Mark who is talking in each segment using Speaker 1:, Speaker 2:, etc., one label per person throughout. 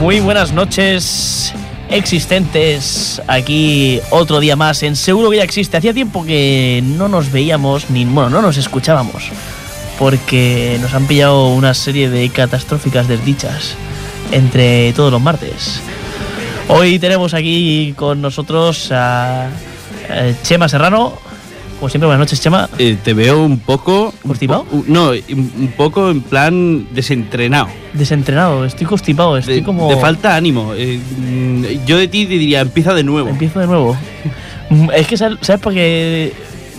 Speaker 1: Muy buenas noches existentes aquí otro día más en Seguro que ya existe. Hacía tiempo que no nos veíamos ni bueno, no nos escuchábamos porque nos han pillado una serie de catastróficas desdichas entre todos los martes. Hoy tenemos aquí con nosotros a, a Chema Serrano. Como siempre, buenas noches, Chema.
Speaker 2: Eh, te veo un poco... un
Speaker 1: ¿Constipado?
Speaker 2: po- no, un un poco en plan desentrenado.
Speaker 1: Desentrenado, estoy constipado, estoy
Speaker 2: De-
Speaker 1: como...
Speaker 2: Te falta ánimo. Eh, mm, yo de ti te diría, empieza de nuevo.
Speaker 1: Empiezo de nuevo. Mm, Es que sab- sabes, porque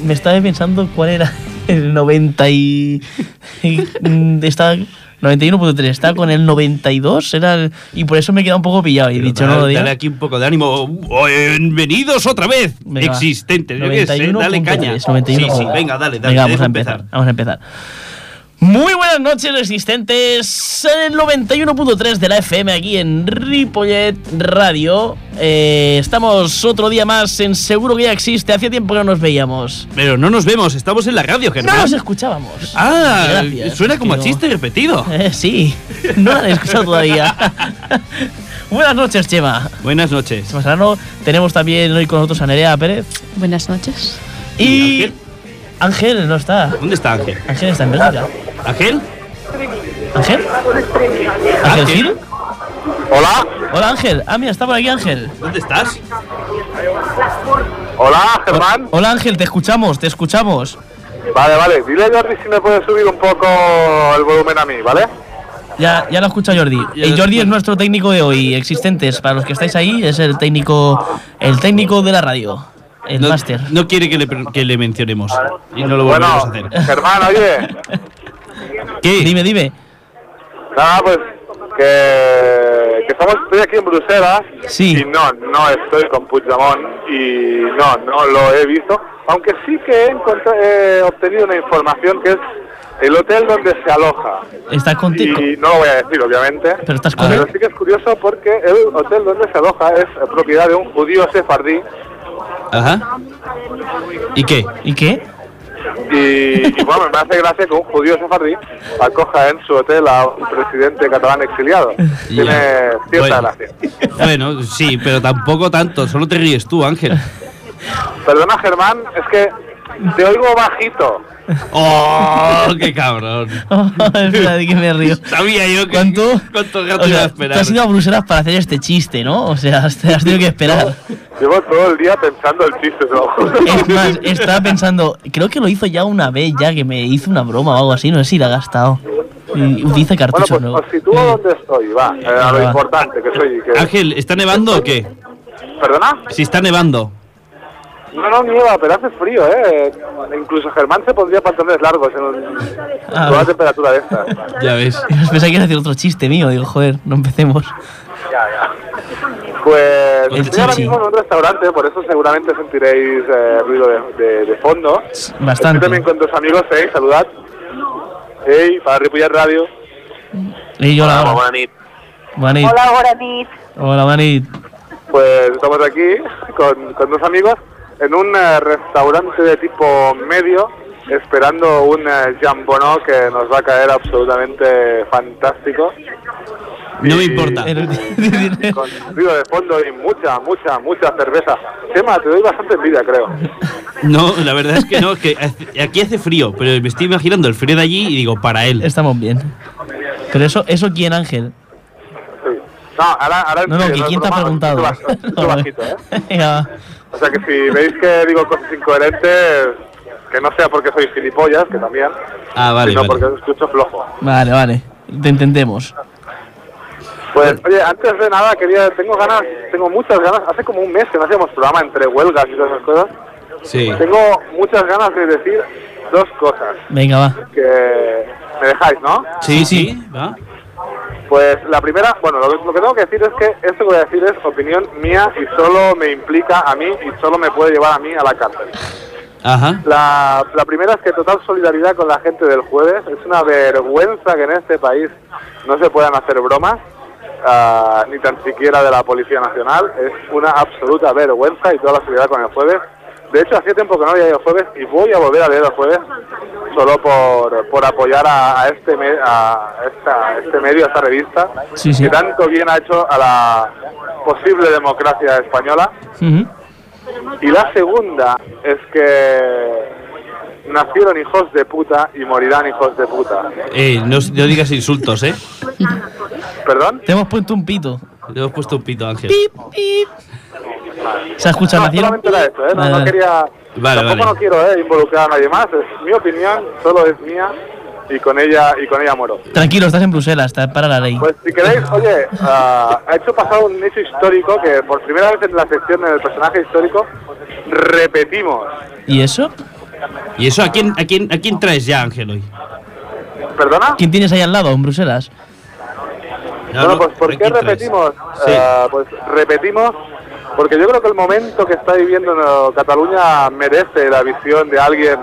Speaker 1: me estaba pensando cuál era el 90 y mm, estaba 91.3, estaba con el 92, era el- y por eso me he quedado un poco pillado y he
Speaker 2: Pero
Speaker 1: dicho
Speaker 2: dale,
Speaker 1: no lo diga.
Speaker 2: dale aquí un poco de ánimo. Bienvenidos otra vez.
Speaker 1: Venga, va.
Speaker 2: Existente. yo qué sé, dale caña.
Speaker 1: 91.3, 91.
Speaker 2: Sí, sí, venga, dale,
Speaker 1: Venga,
Speaker 2: dale. te
Speaker 1: vamos
Speaker 2: dejo
Speaker 1: a empezar. Vamos a empezar. Muy buenas noches, resistentes. El 91.3 de la FM aquí en Ripollet Radio. Eh, estamos otro día más en Seguro que ya existe. Hacía tiempo que no nos veíamos.
Speaker 2: Pero no nos vemos, estamos en la radio,
Speaker 1: No
Speaker 2: Germán.
Speaker 1: nos escuchábamos.
Speaker 2: ah,
Speaker 1: Gracias,
Speaker 2: suena como a
Speaker 1: tío.
Speaker 2: chiste repetido.
Speaker 1: Eh, sí, no la han escuchado todavía. buenas noches, Chema.
Speaker 2: Buenas noches.
Speaker 1: Chema Serrano. Tenemos también hoy con nosotros a Nerea Pérez.
Speaker 3: Buenas noches.
Speaker 2: ¿Y
Speaker 1: Y Ángel no está.
Speaker 2: ¿Dónde está Ángel?
Speaker 1: Ángel está en Bélgica.
Speaker 2: ¿Ángel?
Speaker 1: ¿Ángel? ¿Ángel
Speaker 2: Ángel.
Speaker 1: Gil?
Speaker 4: Hola,
Speaker 1: Hola Ángel. Ah, mira, está por aquí Ángel.
Speaker 2: ¿Dónde estás?
Speaker 4: hola Germán.
Speaker 1: Hola Ángel, te escuchamos, te escuchamos.
Speaker 4: Vale, vale, dile a Jordi si me puede subir un poco el volumen a mí, ¿vale?
Speaker 1: Ya, ya lo escucha Jordi.
Speaker 2: Ya
Speaker 1: Eh,
Speaker 2: lo
Speaker 1: Jordi
Speaker 2: escucho.
Speaker 1: es nuestro técnico de hoy, existentes. Para los que estáis ahí, es el técnico, el técnico de la radio, el
Speaker 2: no,
Speaker 1: máster.
Speaker 2: no quiere que le, pre- que le mencionemos. Y no lo volveremos
Speaker 4: Bueno,
Speaker 2: a hacer.
Speaker 4: Germán, oye,
Speaker 2: ¿Qué?
Speaker 1: Dime, dime.
Speaker 4: nada, pues que, que estamos, estoy aquí en Bruselas
Speaker 1: Sí.
Speaker 4: y no, no estoy con Puigdemont y no, no lo he visto, aunque sí que he, encontrado- he obtenido una información que es el hotel donde se aloja.
Speaker 1: Estás contigo.
Speaker 4: Y no lo voy a decir, obviamente.
Speaker 1: Pero estás con
Speaker 4: Pero
Speaker 1: él.
Speaker 4: sí que es curioso porque el hotel donde se aloja es propiedad de un judío sefardí
Speaker 2: Ajá. ¿Y qué?
Speaker 1: ¿Y qué?
Speaker 4: y, y, bueno, me hace gracia que un judío sefardí acoja en su hotel a un presidente catalán exiliado. Tiene
Speaker 2: Ya.
Speaker 4: cierta
Speaker 2: Bueno.
Speaker 4: gracia.
Speaker 2: Bueno, sí, pero tampoco tanto. Solo te ríes tú, Ángel.
Speaker 4: Perdona, Germán, es que te oigo bajito.
Speaker 2: ¡Oh, qué cabrón!
Speaker 1: Espera, Oh, de que me río.
Speaker 2: Sabía yo que.
Speaker 1: ¿Cuánto?
Speaker 2: ¿Cuánto
Speaker 1: O
Speaker 2: gato
Speaker 1: sea,
Speaker 2: iba a
Speaker 1: tú
Speaker 2: esperar?
Speaker 1: has ido a Bruselas para hacer este chiste, ¿no? O sea, has has tenido que esperar.
Speaker 4: Llevo todo el día pensando el chiste, te lo juro.
Speaker 1: Es más, estaba pensando, creo que lo hizo ya una vez, ya que me hizo una broma o algo así, no sé si la ha gastado. Y utiliza
Speaker 4: Bueno,
Speaker 1: cartuchos
Speaker 4: pues
Speaker 1: nuevos.
Speaker 4: os sitúo donde estoy, va, eh, a lo
Speaker 1: Va.
Speaker 4: importante que soy. Que...
Speaker 2: Ángel, ¿está nevando o qué?
Speaker 4: ¿Perdona?
Speaker 2: Si está nevando.
Speaker 4: No, no, nieva, pero hace frío, ¿eh? Incluso Germán se pondría pantalones largos en, un-
Speaker 1: Ah,
Speaker 4: con una
Speaker 1: vale.
Speaker 4: temperatura de estas.
Speaker 2: Ya ves.
Speaker 1: Pensé que iba a decir otro chiste mío, digo, joder, no empecemos.
Speaker 4: Pues
Speaker 1: El
Speaker 4: estoy ahora
Speaker 1: chichi.
Speaker 4: mismo en un restaurante, por eso seguramente sentiréis eh, ruido de, de- de fondo. Estoy
Speaker 1: Bastante.
Speaker 4: también con dos amigos, ¿eh? Saludad. Hey, para Ripollar Radio.
Speaker 1: Y yo la hora.
Speaker 4: buena nit.
Speaker 1: Manit.
Speaker 5: Hola, buenas noches.
Speaker 1: Hola, Manit.
Speaker 4: Pues estamos aquí con, con dos amigos en un eh, restaurante de tipo medio, esperando un eh, jambonó que nos va a caer absolutamente fantástico.
Speaker 2: No me importa.
Speaker 1: El-
Speaker 4: Con ruido de fondo y mucha, mucha, mucha cerveza. Tema, te doy bastante envidia, creo.
Speaker 2: No, la verdad es que no. Que hace- aquí hace frío, pero me estoy imaginando el frío de allí y digo, para él.
Speaker 1: Estamos bien. Pero eso, ¿eso quién, Ángel?
Speaker 4: Sí. No, ahora, ahora en
Speaker 1: No, no,
Speaker 4: serio,
Speaker 1: que quién te ha
Speaker 4: es broma,
Speaker 1: preguntado.
Speaker 4: es bajito, es bajito, ¿eh?
Speaker 1: Venga, va.
Speaker 4: O sea que si veis que digo cosas incoherentes, que no sea porque soy gilipollas, que también,
Speaker 2: Ah, vale,
Speaker 4: sino
Speaker 2: vale.
Speaker 4: porque os escucho flojo.
Speaker 1: Vale, vale. Te entendemos.
Speaker 4: Pues, oye, antes de nada, quería, tengo ganas, tengo muchas ganas, hace como un mes que no hacíamos programa entre huelgas y todas esas cosas,
Speaker 2: Sí.
Speaker 4: tengo muchas ganas de decir dos cosas
Speaker 1: Venga, va.
Speaker 4: que me dejáis, ¿no?
Speaker 2: Sí, sí. ¿va?
Speaker 4: Pues la primera, bueno, lo, lo que tengo que decir es que esto que voy a decir es opinión mía y solo me implica a mí y solo me puede llevar a mí a la cárcel.
Speaker 2: Ajá.
Speaker 4: La, la primera es que total solidaridad con la gente del jueves. Es una vergüenza que en este país no se puedan hacer bromas, ah, ni tan siquiera de la Policía Nacional. Es una absoluta vergüenza y toda la solidaridad con el jueves. De hecho, hacía tiempo que no había ido jueves y voy a volver a leer el jueves solo por, por apoyar a, a este me- a esta- este medio, a esta revista,
Speaker 1: Sí, sí.
Speaker 4: que tanto bien ha hecho a la posible democracia española.
Speaker 1: Ujú.
Speaker 4: Y la segunda es que nacieron hijos de puta y morirán hijos de puta.
Speaker 2: Eh, no, no digas insultos, ¿eh?
Speaker 4: ¿Perdón?
Speaker 1: Te hemos puesto un pito.
Speaker 2: Le hemos puesto un pito, Ángel.
Speaker 1: Pip, pip. ¿Se ha escuchado
Speaker 4: No,
Speaker 1: recién?
Speaker 4: solamente era esto, ¿eh? No,
Speaker 1: Vale,
Speaker 4: no
Speaker 1: vale.
Speaker 4: quería...
Speaker 2: Vale,
Speaker 4: tampoco
Speaker 2: vale.
Speaker 4: no quiero eh, involucrar a nadie más, es mi opinión, solo es mía y con ella y con ella muero.
Speaker 1: Tranquilo, estás en Bruselas, está para la ley.
Speaker 4: Pues si queréis, oye, ah, ha hecho pasar un hecho histórico que por primera vez en la sección del personaje histórico repetimos.
Speaker 1: ¿Y eso?
Speaker 2: ¿Y eso a quién, a quién, a quién traes ya, Ángel, hoy?
Speaker 4: ¿Perdona?
Speaker 1: ¿Quién tienes ahí al lado en Bruselas?
Speaker 2: No,
Speaker 4: bueno,
Speaker 2: no,
Speaker 4: pues ¿por
Speaker 2: ¿a
Speaker 4: qué
Speaker 2: quién traes?
Speaker 4: repetimos?
Speaker 2: Sí.
Speaker 4: Ah, pues repetimos porque yo creo que el momento que está viviendo en Cataluña merece la visión de alguien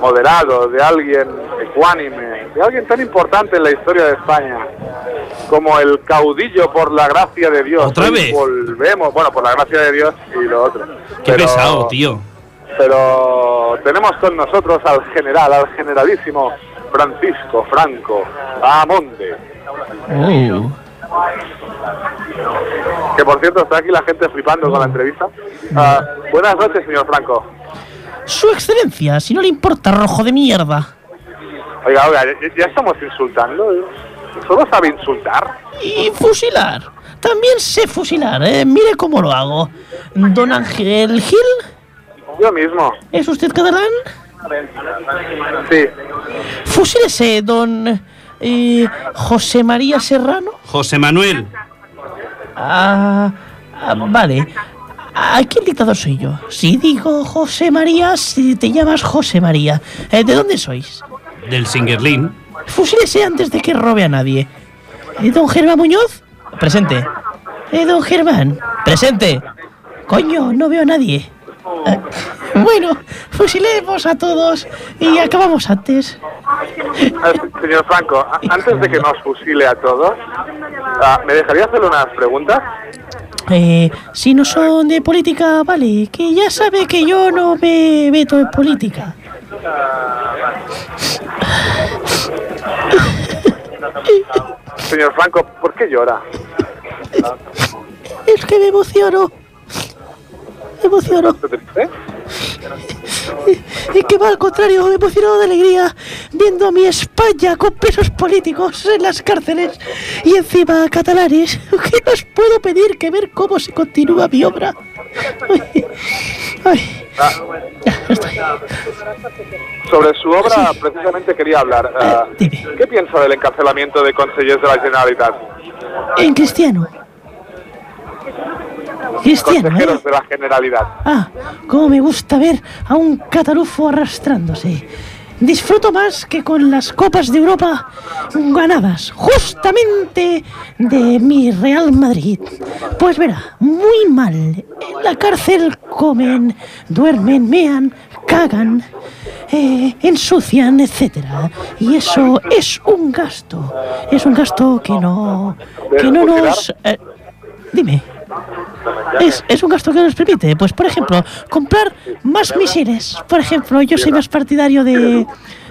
Speaker 4: moderado, de alguien ecuánime, de alguien tan importante en la historia de España como el caudillo por la gracia de Dios.
Speaker 2: ¿Otra
Speaker 4: Hoy
Speaker 2: vez?
Speaker 4: Volvemos, bueno, por la gracia de Dios y lo otro.
Speaker 2: Qué
Speaker 4: Pero-
Speaker 2: pesado, tío.
Speaker 4: pero tenemos con nosotros al general, al generalísimo Francisco Franco Amonte,
Speaker 1: Oh.
Speaker 4: que por cierto está aquí la gente flipando con la entrevista. Ah, buenas noches, señor Franco.
Speaker 1: Su excelencia, si no le importa, rojo de mierda.
Speaker 4: Oiga, oiga, ya, ya estamos insultando. ¿Solo sabe insultar?
Speaker 1: Y fusilar. También sé fusilar, ¿eh? Mire cómo lo hago. Don Ángel Gil,
Speaker 4: Yo mismo.
Speaker 1: ¿es usted catalán?
Speaker 4: Sí.
Speaker 1: Fusílese, don eh, José María Serrano.
Speaker 2: José Manuel.
Speaker 1: Ah, ah, vale. Aquí el dictador soy yo. Si digo José María, si te llamas José María. Eh, ¿De dónde sois?
Speaker 2: Del Singerlin.
Speaker 1: Fusílese antes de que robe a nadie. ¿Eh, ¿Don Germán Muñoz? Presente. ¿Eh, ¿Don Germán? Presente. Coño, no veo a nadie. Ah, Bueno, fusilemos a todos y acabamos antes.
Speaker 4: Ah, señor Franco, a- antes de que nos fusile a todos, ah, ¿me dejaría hacerle unas preguntas?
Speaker 1: Eh, si no son de política, vale, que ya sabe que yo no me meto en política.
Speaker 4: Señor Franco, ¿por qué llora?
Speaker 1: Es que me emociono. Me emociono.
Speaker 4: ¿Está triste?
Speaker 1: Es que va al contrario, me emociono de alegría viendo a mi España con pesos políticos en las cárceles y encima catalanes. ¿Qué más puedo pedir que ver cómo se continúa mi obra? Ay, ay,
Speaker 4: Ah,
Speaker 1: ya estoy.
Speaker 4: Sobre su obra precisamente quería hablar. Ah,
Speaker 1: Eh, dime.
Speaker 4: ¿Qué piensa del encarcelamiento de consellers de la Generalitat?
Speaker 1: En cristiano. Cristiano, ¿eh?
Speaker 4: Consejeros de la Generalidad.
Speaker 1: Ah, cómo me gusta ver a un catalufo arrastrándose. Disfruto más que con las copas de Europa ganadas justamente de mi Real Madrid. Pues verá, muy mal. En la cárcel comen, duermen, mean, cagan, eh, ensucian, etcétera. Y eso es un gasto. Es un gasto que no, que no nos... eh, dime. Es, es un gasto que nos permite, pues por ejemplo, comprar más misiles. Por ejemplo, yo soy más partidario de,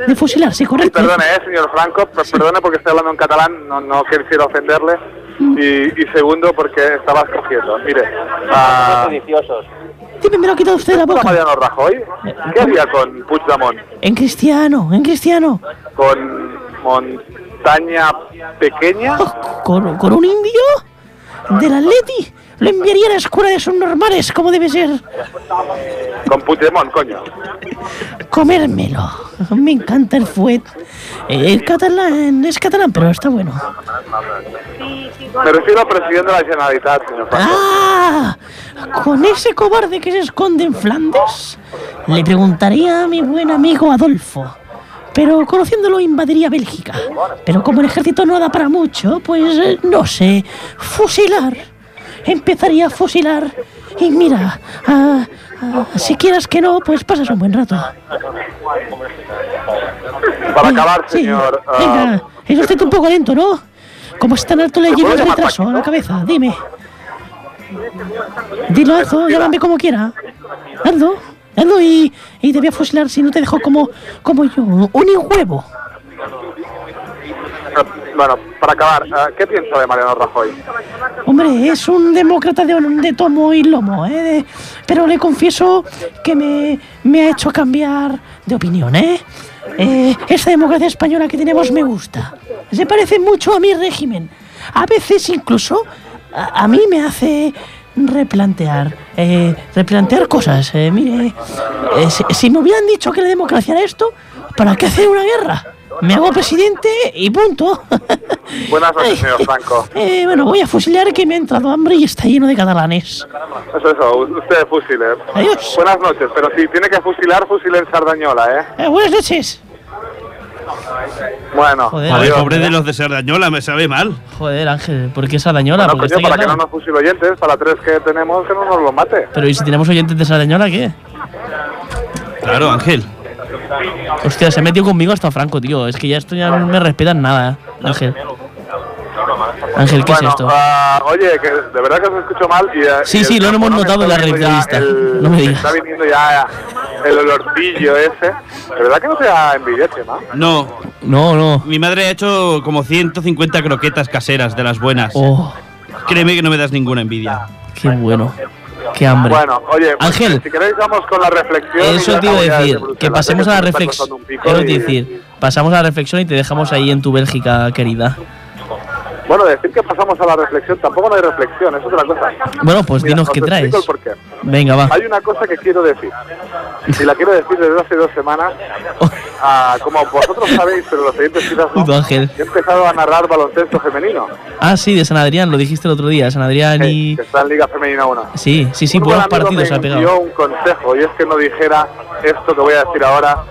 Speaker 1: de fusilar, sí,
Speaker 4: Y
Speaker 1: correcto.
Speaker 4: perdone, eh, señor Franco, per- perdone porque estoy hablando en catalán, no, no quisiera ofenderle.
Speaker 1: Mm.
Speaker 4: Y, y segundo, porque estaba escogiendo. Mire, ah,
Speaker 1: Dime, me lo ha quitado usted de la
Speaker 4: ¿cómo era
Speaker 1: boca.
Speaker 4: Mariano
Speaker 1: Eh,
Speaker 4: Rajoy? ¿Qué había con Puigdemont?
Speaker 1: En cristiano, en cristiano.
Speaker 4: ¿Con montaña pequeña?
Speaker 1: Oh, ¿Con, con un indio? ¿Del Atleti? Lo enviaría a la escuela de subnormales, como debe ser.
Speaker 4: Con Puigdemont, coño.
Speaker 1: Comérmelo. Me encanta el fuet. El catalán es catalán, pero está bueno.
Speaker 4: Me refiero al presidente de la Generalitat, señor Franco.
Speaker 1: ¡Ah! ¿Con ese cobarde que se esconde en Flandes? Le preguntaría a mi buen amigo Adolfo. Pero conociéndolo invadiría Bélgica. Pero como el ejército no da para mucho, pues eh, no sé. Fusilar. Empezaría a fusilar. Y mira, ah, ah, si quieras que no, pues pasas un buen rato.
Speaker 4: Para acabar,
Speaker 1: Ah, Sí,
Speaker 4: señor. ah,
Speaker 1: Venga, es usted un poco lento, ¿no? Como es tan alto le
Speaker 4: ¿Te
Speaker 1: llevo
Speaker 4: puedo
Speaker 1: el
Speaker 4: llamar
Speaker 1: retraso a la
Speaker 4: Paquito?
Speaker 1: cabeza, dime. Dilo, Alzo, llámame como quiera. Alzo, Ando y, y te voy a fusilar si no te dejo como, como yo. Un huevo.
Speaker 4: Bueno, para acabar, eh, ¿qué piensa de Mariano Rajoy?
Speaker 1: Hombre, es un demócrata de, de tomo y lomo, ¿eh? De- pero le confieso que me, me ha hecho cambiar de opinión, ¿eh? Eh, Esta democracia española que tenemos me gusta. Se parece mucho a mi régimen. A veces incluso a, a mí me hace replantear, eh, replantear cosas. eh, mire, eh, si, si me hubieran dicho que la democracia era esto, ¿para qué hacer una guerra? Me hago presidente y punto.
Speaker 4: Buenas
Speaker 1: Ay,
Speaker 4: noches, señor Franco.
Speaker 1: eh, bueno, voy a fusilar que me ha entrado hambre y está lleno de catalanes.
Speaker 4: Eso, eso, usted fusile.
Speaker 1: Adiós.
Speaker 4: Buenas noches, pero si tiene que fusilar, fusile en Sardañola, ¿eh?
Speaker 1: Eh, buenas noches.
Speaker 4: Bueno,
Speaker 1: Joder.
Speaker 2: Joder,
Speaker 1: Adiós.
Speaker 2: pobre de los de Sardañola, me sabe mal.
Speaker 1: Joder, Ángel, ¿por qué Sardañola?
Speaker 4: Bueno,
Speaker 1: Porque
Speaker 4: coño,
Speaker 1: está
Speaker 4: para
Speaker 1: aquí
Speaker 4: que
Speaker 1: al
Speaker 4: no
Speaker 1: lado.
Speaker 4: nos fusile oyentes, para tres que tenemos, que no nos lo mate.
Speaker 1: Pero ¿y si tenemos oyentes de Sardañola qué?
Speaker 2: Claro, Ángel.
Speaker 1: Hostia, se ha metido conmigo hasta Franco, tío. Es que ya esto ya no me respetan nada, eh, Ángel. Ángel, ¿qué es
Speaker 4: bueno,
Speaker 1: esto?
Speaker 4: ah, oye, que de verdad que os escucho mal. Y, eh,
Speaker 1: Sí,
Speaker 4: y
Speaker 1: sí,
Speaker 4: el
Speaker 1: lo hemos
Speaker 4: campo,
Speaker 1: notado
Speaker 4: me
Speaker 1: en la
Speaker 4: está viniendo
Speaker 1: revista.
Speaker 4: ya el-
Speaker 1: No me digas.
Speaker 4: Está viniendo ya el olorcillo ese. De verdad que no sea envidiante, ¿no?
Speaker 2: No,
Speaker 1: No, no.
Speaker 2: mi madre ha hecho como 150 croquetas caseras de las buenas.
Speaker 1: Oh,
Speaker 2: Créeme que no me das ninguna envidia.
Speaker 1: qué bueno. Qué hambre.
Speaker 4: Bueno, oye, pues,
Speaker 1: Ángel.
Speaker 4: si queréis vamos con la reflexión. y
Speaker 1: Eso
Speaker 4: ya
Speaker 1: te iba a
Speaker 4: estamos ya
Speaker 1: decir,
Speaker 4: desde Bruselas,
Speaker 1: que pasemos
Speaker 4: ¿eh?
Speaker 1: a la
Speaker 4: se me está
Speaker 1: reflexión.
Speaker 4: cortando un pico
Speaker 1: Eso te iba a
Speaker 4: y-
Speaker 1: decir, pasamos a la reflexión y te dejamos ahí en tu Bélgica querida.
Speaker 4: Bueno, decir que pasamos a la reflexión, tampoco no hay reflexión, es otra cosa.
Speaker 1: Bueno, pues
Speaker 4: Mira,
Speaker 1: dinos
Speaker 4: os
Speaker 1: qué traes.
Speaker 4: explico el porqué.
Speaker 1: Venga, va.
Speaker 4: Hay una cosa que quiero decir. Y la quiero decir desde hace dos semanas. Ah, como vosotros sabéis, pero los oyentes quizás no.
Speaker 1: Puto Ángel.
Speaker 4: He empezado a narrar baloncesto femenino.
Speaker 1: Ah, sí, de San Adrián, lo dijiste el otro día. San Adrián
Speaker 4: eh,
Speaker 1: y.
Speaker 4: que está en Liga Femenina 1.
Speaker 1: Sí, sí, sí,
Speaker 4: Un
Speaker 1: buenos
Speaker 4: buen amigo
Speaker 1: partidos
Speaker 4: me
Speaker 1: ha
Speaker 4: dio
Speaker 1: pegado.
Speaker 4: un consejo y es que no dijera esto que voy a decir ahora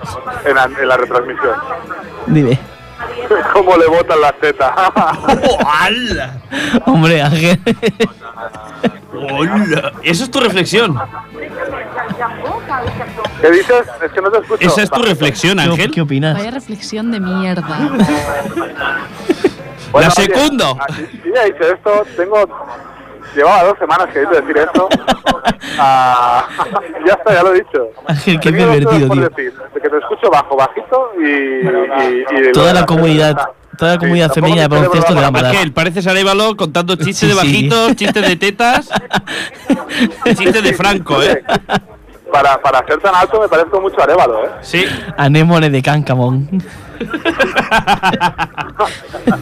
Speaker 4: en la, en la retransmisión.
Speaker 1: Dime.
Speaker 4: ¿Cómo le botan las tetas?
Speaker 2: ¡Hala!
Speaker 1: Hombre, Ángel.
Speaker 2: ¡Hola! Esa es tu reflexión.
Speaker 4: ¿Qué dices? Es que no te escucho.
Speaker 2: Esa es tu reflexión,
Speaker 1: ¿Qué,
Speaker 2: Ángel.
Speaker 1: qué opinas?
Speaker 3: Vaya reflexión de mierda.
Speaker 2: La secundo.
Speaker 4: ah, Sí, he dicho esto. Tengo. Llevaba dos semanas queriendo decir esto. Ah, ya está, ya lo he dicho.
Speaker 1: Ángel, qué
Speaker 4: Tenía dos cosas
Speaker 1: pervertido,
Speaker 4: por
Speaker 1: tío.
Speaker 4: decir, de que te escucho bajo, bajito y. y- y-
Speaker 1: Toda la
Speaker 4: y-
Speaker 1: comunidad- toda la comunidad
Speaker 4: tampoco
Speaker 1: femenina de
Speaker 4: mi cerebro
Speaker 1: baloncesto
Speaker 4: va
Speaker 1: le da
Speaker 4: para-
Speaker 1: Verdad.
Speaker 2: Ángel, pareces Arevalo contando chistes
Speaker 1: Sí,
Speaker 2: de
Speaker 1: sí.
Speaker 2: bajitos, chistes de tetas, chistes de Franco, ¿eh?
Speaker 4: Para, para ser tan alto me parezco mucho a Arevalo, ¿eh?
Speaker 2: Sí.
Speaker 1: Anémone de Cancamón.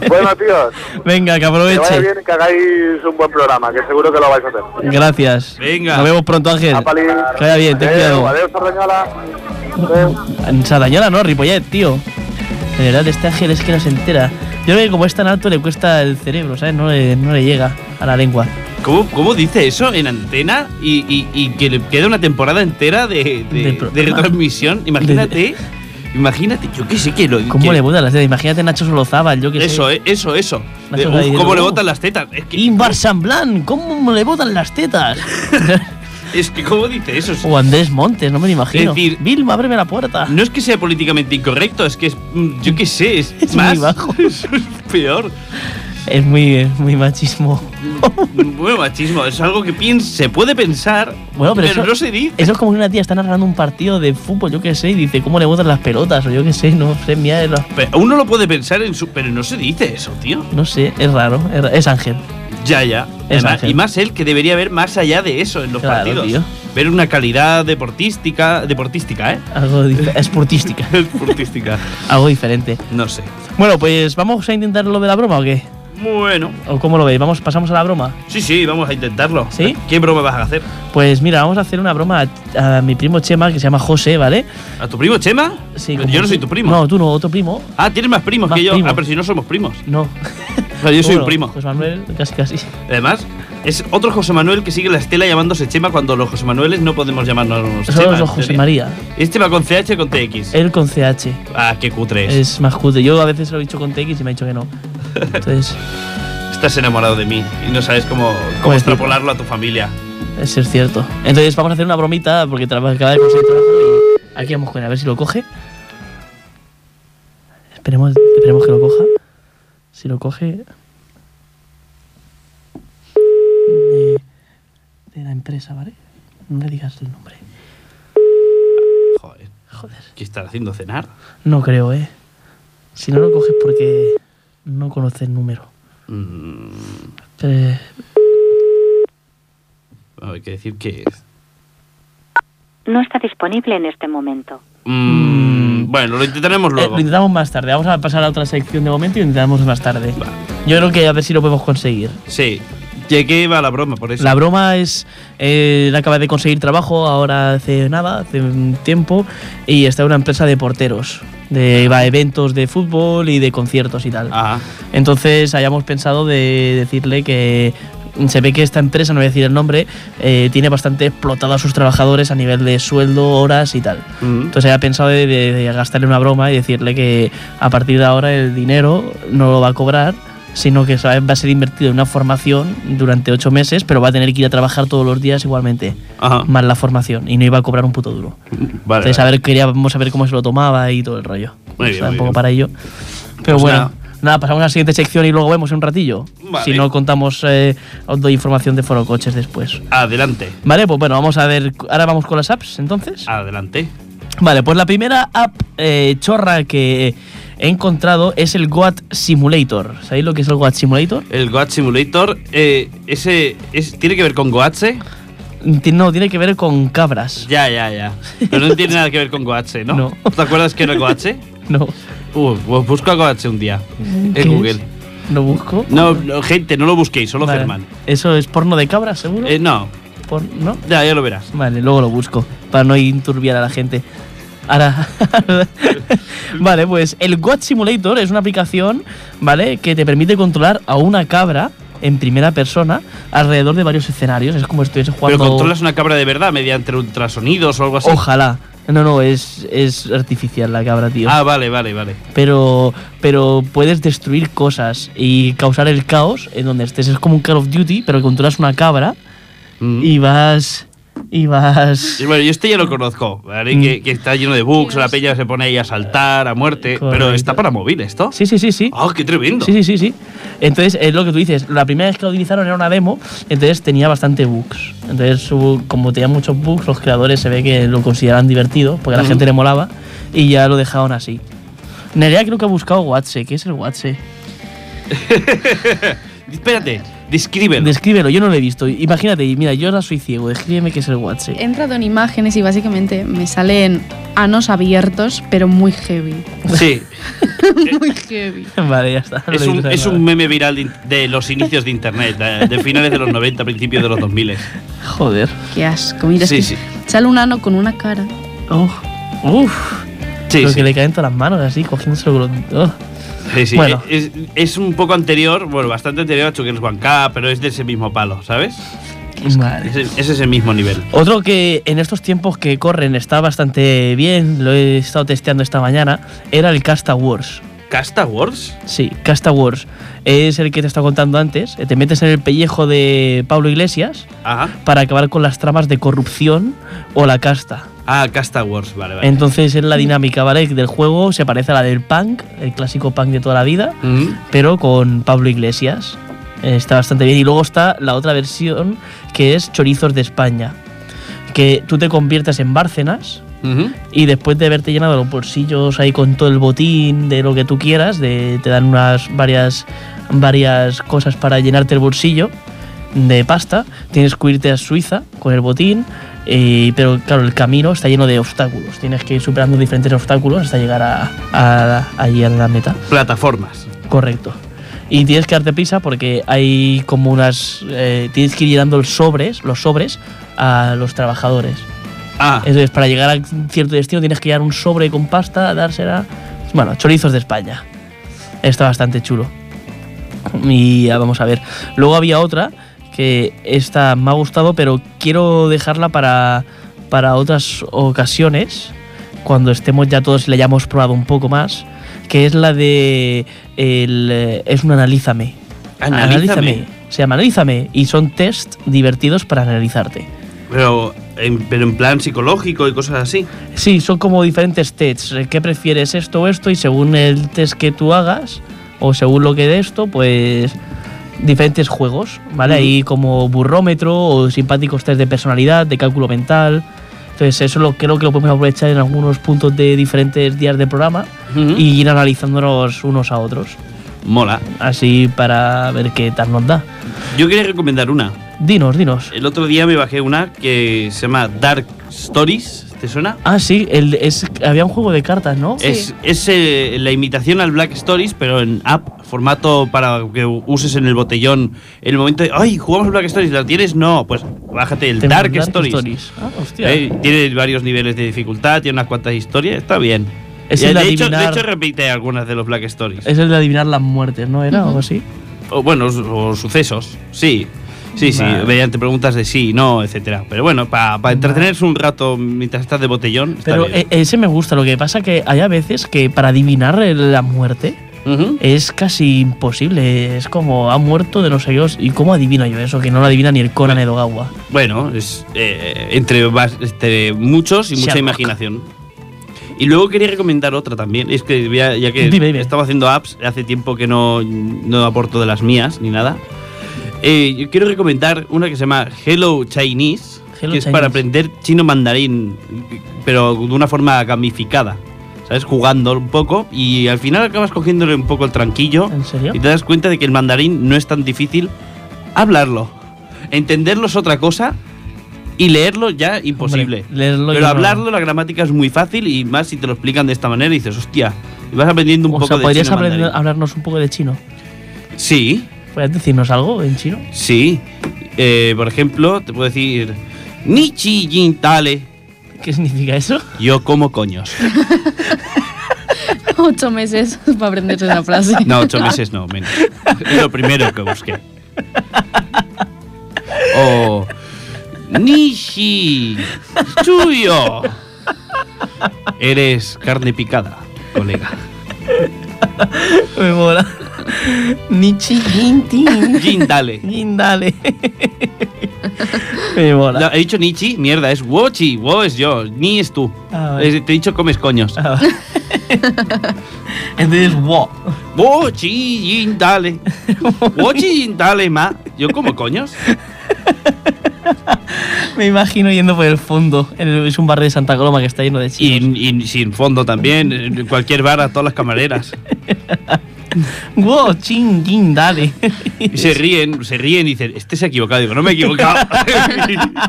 Speaker 4: Bueno, tíos,
Speaker 1: Venga, que
Speaker 4: que vaya
Speaker 1: aproveche.
Speaker 4: bien y que hagáis un buen programa, que seguro que lo vais a hacer.
Speaker 1: Gracias.
Speaker 2: Venga.
Speaker 1: Nos vemos pronto, Ángel.
Speaker 4: Apali.
Speaker 1: Que vaya bien, ten
Speaker 4: Adeu,
Speaker 1: cuidado.
Speaker 4: Adeu, Sardañola. Adeu.
Speaker 1: En Sardañola, no, Ripollet, tío. De verdad, este Ángel es que no se entera. Yo creo que como es tan alto le cuesta el cerebro, ¿sabes? No le, no le llega a la lengua.
Speaker 2: ¿Cómo, cómo dice eso en antena y, y- y que le queda una temporada entera de,
Speaker 1: Del
Speaker 2: de- de
Speaker 1: programa.
Speaker 2: retransmisión? Imagínate, imagínate, yo qué sé que lo
Speaker 1: ¿Cómo
Speaker 2: que-
Speaker 1: le botan las tetas? Imagínate Nacho Solozábal, yo que sé.
Speaker 2: Eso, eh, eso, eso.
Speaker 1: Me
Speaker 2: De,
Speaker 1: hace reír,
Speaker 2: uf, ¿Cómo le
Speaker 1: uh.
Speaker 2: botan las tetas? Es que,
Speaker 1: Imbar Blanc, ¿cómo le botan las tetas?
Speaker 2: es que ¿cómo dice eso?
Speaker 1: o Andrés Montes, no me lo imagino.
Speaker 2: Es decir-
Speaker 1: Vilma, ábreme la puerta.
Speaker 2: No es que sea políticamente incorrecto, es que es, mm, yo qué sé, es,
Speaker 1: Es muy
Speaker 2: más.
Speaker 1: bajo.
Speaker 2: Eso es peor.
Speaker 1: Es muy, es muy machismo.
Speaker 2: Bueno, machismo, es algo que piens- se puede pensar,
Speaker 1: Bueno, pero eso-
Speaker 2: no se dice.
Speaker 1: Eso es como que una tía está narrando un partido de fútbol, yo qué sé, y dice cómo le botan las pelotas, o yo qué sé, no sé, mira, es la-
Speaker 2: Pero uno lo puede pensar en su. Pero no se dice eso, tío.
Speaker 1: no sé, es raro, es, ra- es Ángel.
Speaker 2: Ya, ya.
Speaker 1: Es
Speaker 2: Además-
Speaker 1: Ángel.
Speaker 2: y más él que debería ver más allá de eso en los
Speaker 1: Claro,
Speaker 2: partidos.
Speaker 1: tío.
Speaker 2: Ver una calidad deportística. Deportística, ¿eh?
Speaker 1: Algo dif- esportística,
Speaker 2: Deportística.
Speaker 1: algo diferente.
Speaker 2: No sé.
Speaker 1: Bueno, pues vamos a intentar lo de la broma o qué?
Speaker 2: Bueno.
Speaker 1: ¿O cómo lo veis? Vamos, pasamos a la broma.
Speaker 2: Sí, sí, vamos a intentarlo.
Speaker 1: ¿Sí?
Speaker 2: ¿Qué broma vas a hacer?
Speaker 1: Pues mira, vamos a hacer una broma a, a mi primo Chema, que se llama José, ¿vale?
Speaker 2: ¿A tu primo Chema?
Speaker 1: Sí,
Speaker 2: Pero
Speaker 1: como
Speaker 2: yo no
Speaker 1: tú-
Speaker 2: soy tu primo.
Speaker 1: No, tú no, otro primo.
Speaker 2: Ah, tienes más primos
Speaker 1: Más
Speaker 2: que yo.
Speaker 1: primos.
Speaker 2: Ah, pero si no somos primos.
Speaker 1: No.
Speaker 2: O sea, yo soy un
Speaker 1: Bueno,
Speaker 2: primo.
Speaker 1: José Manuel, casi casi.
Speaker 2: Además, es otro José Manuel que sigue la estela llamándose Chema cuando los José Manueles no podemos llamarnos
Speaker 1: Solo
Speaker 2: Chema.
Speaker 1: los José
Speaker 2: sería.
Speaker 1: María.
Speaker 2: Es Chema con CH o con TX.
Speaker 1: Él con CH.
Speaker 2: Ah, qué cutre es.
Speaker 1: Es más cutre. Yo a veces lo he dicho con TX y me ha dicho que no. Entonces,
Speaker 2: Estás enamorado de mí y no sabes cómo, cómo
Speaker 1: Joder,
Speaker 2: extrapolarlo a tu familia.
Speaker 1: eso es cierto. Entonces, vamos a hacer una bromita porque traba- acaba de conseguir trabajo y aquí vamos con él, a ver si lo coge. Esperemos, esperemos que lo coja. Si lo coge. De, de la empresa, ¿vale? No le digas el nombre. Joder.
Speaker 2: ¿Qué estar haciendo cenar?
Speaker 1: No creo, ¿eh? Si no lo coges porque no conoces el número.
Speaker 2: Mm,
Speaker 1: Eh,
Speaker 2: bueno, hay que decir que.
Speaker 5: No está disponible en este momento.
Speaker 2: Mm, bueno, lo intentaremos
Speaker 1: eh,
Speaker 2: luego.
Speaker 1: lo intentamos más tarde. Vamos a pasar a otra sección de momento y lo intentamos más tarde.
Speaker 2: Va.
Speaker 1: Yo creo que a ver si lo podemos conseguir.
Speaker 2: Sí. Ya que iba la broma, por eso.
Speaker 1: La broma es, eh, él acaba de conseguir trabajo ahora hace nada, hace un tiempo, y está en una empresa de porteros, de, va a eventos de fútbol y de conciertos y tal.
Speaker 2: Ajá.
Speaker 1: Entonces hayamos pensado de decirle que se ve que esta empresa, no voy a decir el nombre, eh, tiene bastante explotado a sus trabajadores a nivel de sueldo, horas y tal.
Speaker 2: Mm.
Speaker 1: Entonces había pensado de, de- de gastarle una broma y decirle que a partir de ahora el dinero no lo va a cobrar, sino que ¿sabes? va a ser invertido en una formación durante ocho meses, pero va a tener que ir a trabajar todos los días igualmente,
Speaker 2: Ajá.
Speaker 1: más la formación, y no iba a cobrar un puto duro.
Speaker 2: Vale.
Speaker 1: Entonces a ver, queríamos saber cómo se lo tomaba y todo el rollo.
Speaker 2: Muy bien,
Speaker 1: Está un
Speaker 2: muy
Speaker 1: poco
Speaker 2: bien.
Speaker 1: para ello. Pero
Speaker 2: Pues
Speaker 1: bueno.
Speaker 2: nada.
Speaker 1: Nada. pasamos a la siguiente sección y luego vemos en un ratillo.
Speaker 2: Vale.
Speaker 1: Si no, contamos, eh, os doy información de Foro Coches después.
Speaker 2: Adelante.
Speaker 1: Vale, pues bueno, vamos a ver. Ahora vamos con las apps entonces.
Speaker 2: Adelante.
Speaker 1: Vale, pues la primera app eh, chorra que he encontrado es el Goat Simulator. ¿Sabéis lo que es el Goat Simulator?
Speaker 2: El Goat Simulator, eh, ese, es- ¿tiene que ver con Goatse?
Speaker 1: Ti- No, tiene que ver con cabras.
Speaker 2: Ya, ya, ya. Pero no tiene nada que ver con Goatse, ¿no?
Speaker 1: No.
Speaker 2: ¿Te acuerdas que era Goatse?
Speaker 1: No.
Speaker 2: Uh, pues busca Goatse un día
Speaker 1: ¿Qué es?
Speaker 2: en Google.
Speaker 1: ¿Lo busco?
Speaker 2: No, no, gente, no lo busquéis, solo
Speaker 1: Vale.
Speaker 2: Germán.
Speaker 1: ¿Eso es porno de cabras, seguro?
Speaker 2: Eh, no,
Speaker 1: Por- ¿No?
Speaker 2: ya, ya lo verás.
Speaker 1: Vale, luego lo busco, para no inturbiar a la gente. Ahora. vale, pues el Goat Simulator es una aplicación, ¿vale? Que te permite controlar a una cabra en primera persona alrededor de varios escenarios. Es como si estuviese jugando.
Speaker 2: Pero controlas una cabra de verdad mediante ultrasonidos o algo así.
Speaker 1: Ojalá. No, no, es, es artificial la cabra, tío.
Speaker 2: Ah, vale, vale, vale.
Speaker 1: Pero, pero puedes destruir cosas y causar el caos en donde estés. Es como un Call of Duty, pero controlas una cabra
Speaker 2: Mm.
Speaker 1: y vas. Y vas.
Speaker 2: Y bueno, yo este ya lo conozco, ¿vale?
Speaker 1: Mm.
Speaker 2: Que, que está lleno de bugs, la peña se pone ahí a saltar, a muerte. Pero
Speaker 1: Correcto.
Speaker 2: está para móvil esto.
Speaker 1: Sí, sí, sí, sí.
Speaker 2: ¡Ah, qué tremendo!
Speaker 1: Sí, sí, sí, sí. Entonces, es lo que tú dices. La primera vez que lo utilizaron era una demo, entonces tenía bastante bugs. Entonces, hubo- como tenía muchos bugs, los creadores se ve que lo consideraban divertido, porque a la
Speaker 2: Ujú.
Speaker 1: gente le molaba, y ya lo dejaron así. Nerea creo que ha buscado Watse. ¿Qué es el Watse?
Speaker 2: Espérate, descríbelo.
Speaker 1: Descríbelo, yo no lo he visto. Imagínate, y mira, yo ahora soy ciego, descríbeme qué es el
Speaker 3: He
Speaker 2: Eh.
Speaker 1: Watse.
Speaker 3: entrado en imágenes y básicamente me salen anos abiertos, pero muy heavy.
Speaker 2: sí,
Speaker 3: Muy heavy.
Speaker 1: Vale, ya está. no
Speaker 2: es
Speaker 1: le
Speaker 2: un,
Speaker 1: dices
Speaker 2: es
Speaker 1: nada.
Speaker 2: un meme viral de, de los inicios de Internet, de, de finales de los 90, principios de los 2000.
Speaker 1: Joder.
Speaker 3: Qué asco. Mira, es
Speaker 2: Sí,
Speaker 3: que
Speaker 2: sí.
Speaker 3: sale un ano con una cara.
Speaker 1: Uf. Oh, Uf.
Speaker 2: Sí,
Speaker 1: lo
Speaker 2: sí,
Speaker 1: que le caen todas las manos así, cogiéndoselo con los... oh.
Speaker 2: sí, sí.
Speaker 1: Bueno.
Speaker 2: Es, es un poco anterior, bueno, bastante anterior a Chuckers One Cup, pero es de ese mismo palo, ¿sabes?
Speaker 1: Vale.
Speaker 2: Es, es ese mismo nivel.
Speaker 1: Otro que en estos tiempos que corren está bastante bien, lo he estado testeando esta mañana, era el Casta Wars.
Speaker 2: ¿Casta Wars?
Speaker 1: Sí, Casta Wars. Es el que te estaba contando antes. Te metes en el pellejo de Pablo Iglesias
Speaker 2: Ajá.
Speaker 1: para acabar con las tramas de corrupción o la casta.
Speaker 2: Ah, Casta Wars, vale, vale.
Speaker 1: Entonces es la dinámica, ¿vale? Del juego se parece a la del punk, el clásico punk de toda la vida,
Speaker 2: Mm.
Speaker 1: pero con Pablo Iglesias. Eh, Está bastante bien. Y luego está la otra versión, que es Chorizos de España. Que tú te conviertes en Bárcenas,
Speaker 2: Ujú.
Speaker 1: y después de haberte llenado los bolsillos ahí con todo el botín de lo que tú quieras, de, te dan unas varias, varias cosas para llenarte el bolsillo de pasta, tienes que irte a Suiza con el botín, eh, pero claro, el camino está lleno de obstáculos, tienes que ir superando diferentes obstáculos hasta llegar a, a- allí a la meta.
Speaker 2: Plataformas.
Speaker 1: Correcto. Y tienes que darte prisa porque hay como unas... eh, tienes que ir llenando los sobres, los sobres a los trabajadores.
Speaker 2: Ah,
Speaker 1: Entonces, para llegar a cierto destino tienes que llevar un sobre con pasta, dársela. Bueno, chorizos de España. Está bastante chulo. Y ya vamos a ver. Luego había otra que esta me ha gustado, pero quiero dejarla para, para otras ocasiones, cuando estemos ya todos y la hayamos probado un poco más, que es la de... el, eh, es un analízame.
Speaker 2: analízame.
Speaker 1: Se llama Analízame y son test divertidos para analizarte.
Speaker 2: Pero en, pero en plan psicológico y cosas así.
Speaker 1: Sí, son como diferentes tests. eh, ¿Qué prefieres esto o esto? Y según el test que tú hagas, o según lo que de esto, pues diferentes juegos, ¿vale?
Speaker 2: Ujú.
Speaker 1: Hay como burrómetro o simpáticos test de personalidad, de cálculo mental, Entonces eso lo, creo que lo podemos aprovechar en algunos puntos de diferentes días de programa
Speaker 2: Ujú.
Speaker 1: y ir analizándonos unos a otros.
Speaker 2: Mola.
Speaker 1: Así para ver qué tal nos da.
Speaker 2: Yo quería recomendar una.
Speaker 1: Dinos, dinos.
Speaker 2: El otro día me bajé una que se llama Dark Stories. ¿Te suena?
Speaker 1: Ah, sí, el, es, había un juego de cartas, ¿no?
Speaker 3: Sí.
Speaker 2: Es, es, eh, la imitación al Black Stories, pero en app, formato para que uses en el botellón. El momento de, ¡ay, jugamos al Black Stories! ¿La tienes? No, pues bájate el
Speaker 1: Tengo
Speaker 2: Dark, Stories.
Speaker 1: Ah, hostia.
Speaker 2: Eh, tiene varios niveles de dificultad, tiene unas cuantas historias, está bien.
Speaker 1: Es
Speaker 2: Y
Speaker 1: el
Speaker 2: de,
Speaker 1: de
Speaker 2: hecho, de
Speaker 1: adivinar-
Speaker 2: hecho, repite algunas de los Black Stories.
Speaker 1: Es el de adivinar las muertes, ¿no era? O algo
Speaker 3: Ujú.
Speaker 1: así.
Speaker 2: O, bueno, o, o sucesos, sí. Sí, sí,
Speaker 1: Vale.
Speaker 2: mediante preguntas de sí, no, etcétera. Pero bueno, para entretenerse un rato mientras estás de botellón, está
Speaker 1: Pero
Speaker 2: bien.
Speaker 1: e- ese me gusta, lo que pasa que hay a veces que para adivinar el- la muerte
Speaker 2: Ujú.
Speaker 1: es casi imposible. Es como ha muerto de no sé Dios. ¿Y cómo adivino yo eso? Que no lo adivina ni el Conan Edogawa.
Speaker 2: Bueno, es eh, entre, vas- entre muchos y mucha
Speaker 1: Sherlock.
Speaker 2: imaginación. Y luego quería recomendar otra también. Es que ya, ya que
Speaker 1: Dime, dime.
Speaker 2: estaba haciendo apps, hace tiempo que no, no aporto de las mías ni nada. Eh, yo quiero recomendar una que se llama Hello Chinese,
Speaker 1: Hello
Speaker 2: que es para
Speaker 1: Chinese.
Speaker 2: aprender chino mandarín, pero de una forma gamificada. ¿Sabes? Jugando un poco y al final acabas cogiéndole un poco el tranquillo.
Speaker 1: ¿En serio?
Speaker 2: Y te das cuenta de que el mandarín no es tan difícil hablarlo. Entenderlo es otra cosa y leerlo ya imposible.
Speaker 1: Hombre, leerlo yo
Speaker 2: Pero
Speaker 1: no.
Speaker 2: hablarlo, la gramática es muy fácil y más si te lo explican de esta manera y dices, hostia, y vas aprendiendo un
Speaker 1: o
Speaker 2: poco
Speaker 1: sea,
Speaker 2: de
Speaker 1: podrías
Speaker 2: chino
Speaker 1: aprender-
Speaker 2: mandarín.
Speaker 1: hablarnos un poco de chino.
Speaker 2: Sí,
Speaker 1: ¿Podrías decirnos algo en chino?
Speaker 2: sí. Eh, por ejemplo, te puedo decir, Nichi Jin Tale,
Speaker 1: ¿Qué significa eso?
Speaker 2: yo como coños.
Speaker 3: Ocho meses para aprenderse esa frase.
Speaker 2: No, ocho meses no, menos. Es lo primero que busqué. O. Nishi Chuyo. Eres carne picada, colega.
Speaker 1: Me mola. Nichi
Speaker 2: Jin, dale.
Speaker 1: Dale. Me mola.
Speaker 2: No, he dicho Nichi, mierda, es Wochi. Wo es yo, Ni es tú.
Speaker 1: Ah, vale.
Speaker 2: Eh, Te he dicho comes coños.
Speaker 1: Ah, va. Entonces, wow.
Speaker 2: Wochi, Jin, dale. Wochi, Jin, dale, ma. Yo como coños.
Speaker 1: Me imagino yendo por el fondo. En el- es un barrio de Santa Coloma que está lleno de chinos.
Speaker 2: Y, y sin fondo también. en Cualquier bar a todas las camareras.
Speaker 1: Wow, ching, ching, dale.
Speaker 2: Y se ríen, se ríen y dicen, este se ha equivocado. Digo, no me he equivocado.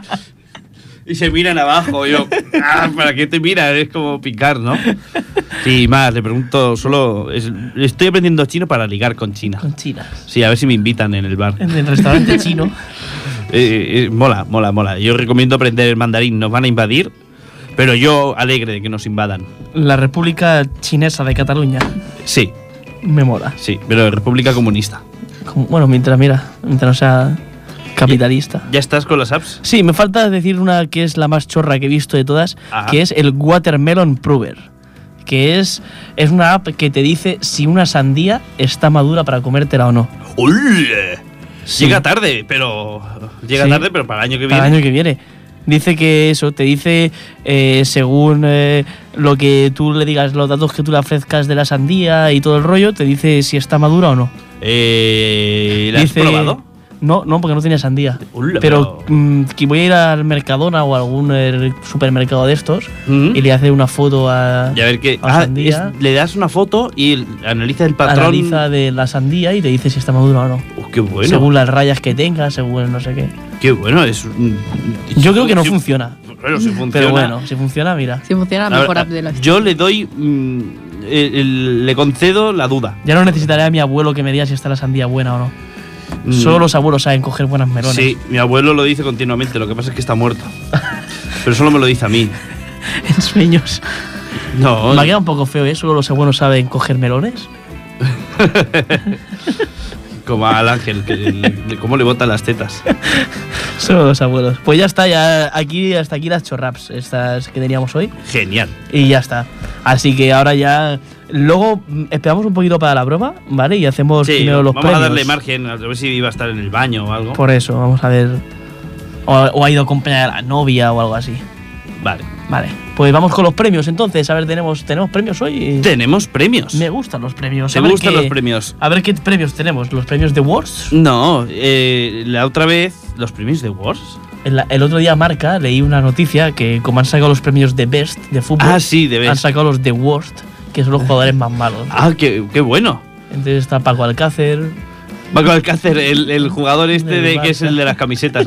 Speaker 2: y se miran abajo. Yo, "Ah, ¿para qué te miran? Es como picar, ¿no? Sí, más, le pregunto, solo. es- estoy aprendiendo chino para ligar con China.
Speaker 1: Con chinas.
Speaker 2: Sí, a ver si me invitan en el bar.
Speaker 1: En el restaurante chino.
Speaker 2: Eh, eh, mola, mola, mola. Yo recomiendo aprender el mandarín. Nos van a invadir, pero yo alegre de que nos invadan.
Speaker 1: La República Chinesa de Cataluña.
Speaker 2: Sí,
Speaker 1: Me mola.
Speaker 2: sí, pero República Comunista.
Speaker 1: Como- bueno, mientras, mira, mientras no sea capitalista.
Speaker 2: ¿Ya estás con las apps?
Speaker 1: Sí, me falta decir una que es la más chorra que he visto de todas,
Speaker 2: Ajá.
Speaker 1: que es el Watermelon Prover. Que es, es una app que te dice si una sandía está madura para comértela o no.
Speaker 2: ¡Ole!
Speaker 1: Sí.
Speaker 2: Llega tarde, pero. Llega
Speaker 1: Sí.
Speaker 2: tarde, pero para el año que viene.
Speaker 1: Para el año que viene. Dice que eso, te dice eh, según eh, lo que tú le digas, los datos que tú le ofrezcas de la sandía y todo el rollo, te dice si está madura o no.
Speaker 2: Eh, ¿La has
Speaker 1: Dice-
Speaker 2: probado?
Speaker 1: No, no, porque no tenía sandía.
Speaker 2: Hola,
Speaker 1: pero
Speaker 2: pero-
Speaker 1: mm, que voy a ir al Mercadona o a algún eh, supermercado de estos
Speaker 2: Mm.
Speaker 1: y le hace una foto a.
Speaker 2: Y a ver qué.
Speaker 1: a
Speaker 2: ah,
Speaker 1: sandía.
Speaker 2: es- le das una foto y el- analiza el patrón.
Speaker 1: Analiza de la sandía y te dice si está madura o no.
Speaker 2: Oh, qué bueno.
Speaker 1: Según las rayas que tenga, según no sé qué.
Speaker 2: Qué bueno. Es, un-
Speaker 1: Yo creo que no
Speaker 2: Sí,
Speaker 1: funciona.
Speaker 2: Bueno, sí funciona.
Speaker 1: Pero bueno, si funciona, mira.
Speaker 3: Si funciona,
Speaker 2: A
Speaker 3: la
Speaker 2: ver,
Speaker 3: mejor
Speaker 2: a-
Speaker 3: app de la vida.
Speaker 2: Yo le doy. mm, el- el- le concedo la duda.
Speaker 1: Ya no necesitaré a mi abuelo que me diga si está la sandía buena o no.
Speaker 2: Mm,
Speaker 1: Solo los abuelos saben coger buenas melones.
Speaker 2: Sí, mi abuelo lo dice continuamente. Lo que pasa es que está muerto. pero solo me lo dice a mí.
Speaker 1: En sueños.
Speaker 2: No.
Speaker 1: Me ha quedado un poco feo, ¿eh? Solo los abuelos saben coger melones.
Speaker 2: Como al ángel, que le- cómo le botan las tetas.
Speaker 1: Solo los abuelos. Pues ya está, ya aquí, hasta aquí las chorraps, estas que teníamos hoy.
Speaker 2: Genial.
Speaker 1: Y ya está. Así que ahora ya. Luego mm, esperamos un poquito para la broma, ¿vale? Y hacemos
Speaker 2: Sí,
Speaker 1: primero los
Speaker 2: vamos
Speaker 1: premios.
Speaker 2: a darle margen, a ver si iba a estar en el baño o algo.
Speaker 1: Por eso, vamos a ver. O, o ha ido a acompañar a la novia o algo así.
Speaker 2: Vale.
Speaker 1: Vale. Pues vamos con los premios entonces. A ver, tenemos, tenemos premios hoy.
Speaker 2: Tenemos premios.
Speaker 1: Me gustan los premios.
Speaker 2: ¿Te
Speaker 1: A ver
Speaker 2: gustan
Speaker 1: qué-
Speaker 2: los premios?
Speaker 1: A ver qué premios tenemos. ¿Los premios de Wars?
Speaker 2: No, eh, la otra vez, los premios de Wars.
Speaker 1: el, el otro día Marca leí una noticia que como han sacado los premios de Best de fútbol,
Speaker 2: Ah, sí, de
Speaker 1: han
Speaker 2: vez.
Speaker 1: sacado los de Worst, que son los jugadores más malos.
Speaker 2: Ah, qué, qué bueno.
Speaker 1: Entonces está Paco Alcácer,
Speaker 2: Paco Alcácer, el, el jugador este
Speaker 1: Del
Speaker 2: de, que es
Speaker 1: Barça.
Speaker 2: el de las camisetas,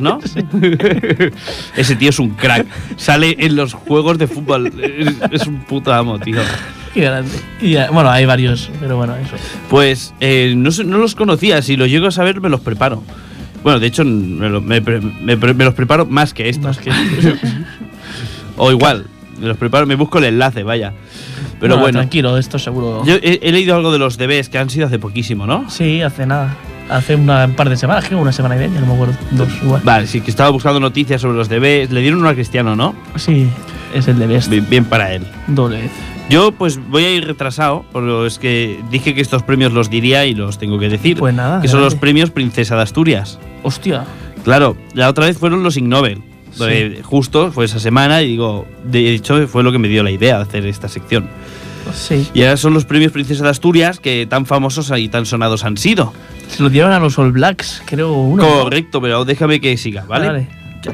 Speaker 2: ¿no? Ese tío es un crack. Sale en los juegos de fútbol. Es, es un puto amo, tío.
Speaker 1: qué grande. Y, eh, bueno, hay varios, pero bueno, eso.
Speaker 2: Pues eh, no, sé- no los conocía. Si los llego a saber, me los preparo. Bueno, de hecho, me, lo- me pre- me pre- me los preparo más que estos.
Speaker 1: Más que-
Speaker 2: O igual, me los preparo, me busco el enlace, vaya. Pero
Speaker 1: No,
Speaker 2: bueno,
Speaker 1: Tranquilo, esto seguro.
Speaker 2: yo he, he leído algo de los debes que han sido hace poquísimo, ¿no?
Speaker 1: Sí, hace nada. Hace una, un par de semanas, creo, una semana y media, no me acuerdo. Dos, igual.
Speaker 2: Vale, sí, que estaba buscando noticias sobre los debes. Le dieron uno a Cristiano, ¿no?
Speaker 1: Sí, es el de Best.
Speaker 2: Bien, bien para él.
Speaker 1: Doble vez.
Speaker 2: Yo pues voy a ir retrasado, pero es que dije que estos premios los diría y los tengo que decir.
Speaker 1: Pues nada,
Speaker 2: Que son los
Speaker 1: adelante.
Speaker 2: premios Princesa de Asturias.
Speaker 1: Hostia.
Speaker 2: Claro, la otra vez fueron los Ig Nobel. donde Justo fue esa semana y digo, de hecho fue lo que me dio la idea de hacer esta sección.
Speaker 1: Sí.
Speaker 2: Y ahora son los premios Princesa de Asturias que tan famosos y tan sonados han sido.
Speaker 1: Se lo dieron a los All Blacks, creo, uno.
Speaker 2: Correcto, pero déjame que siga, ¿vale?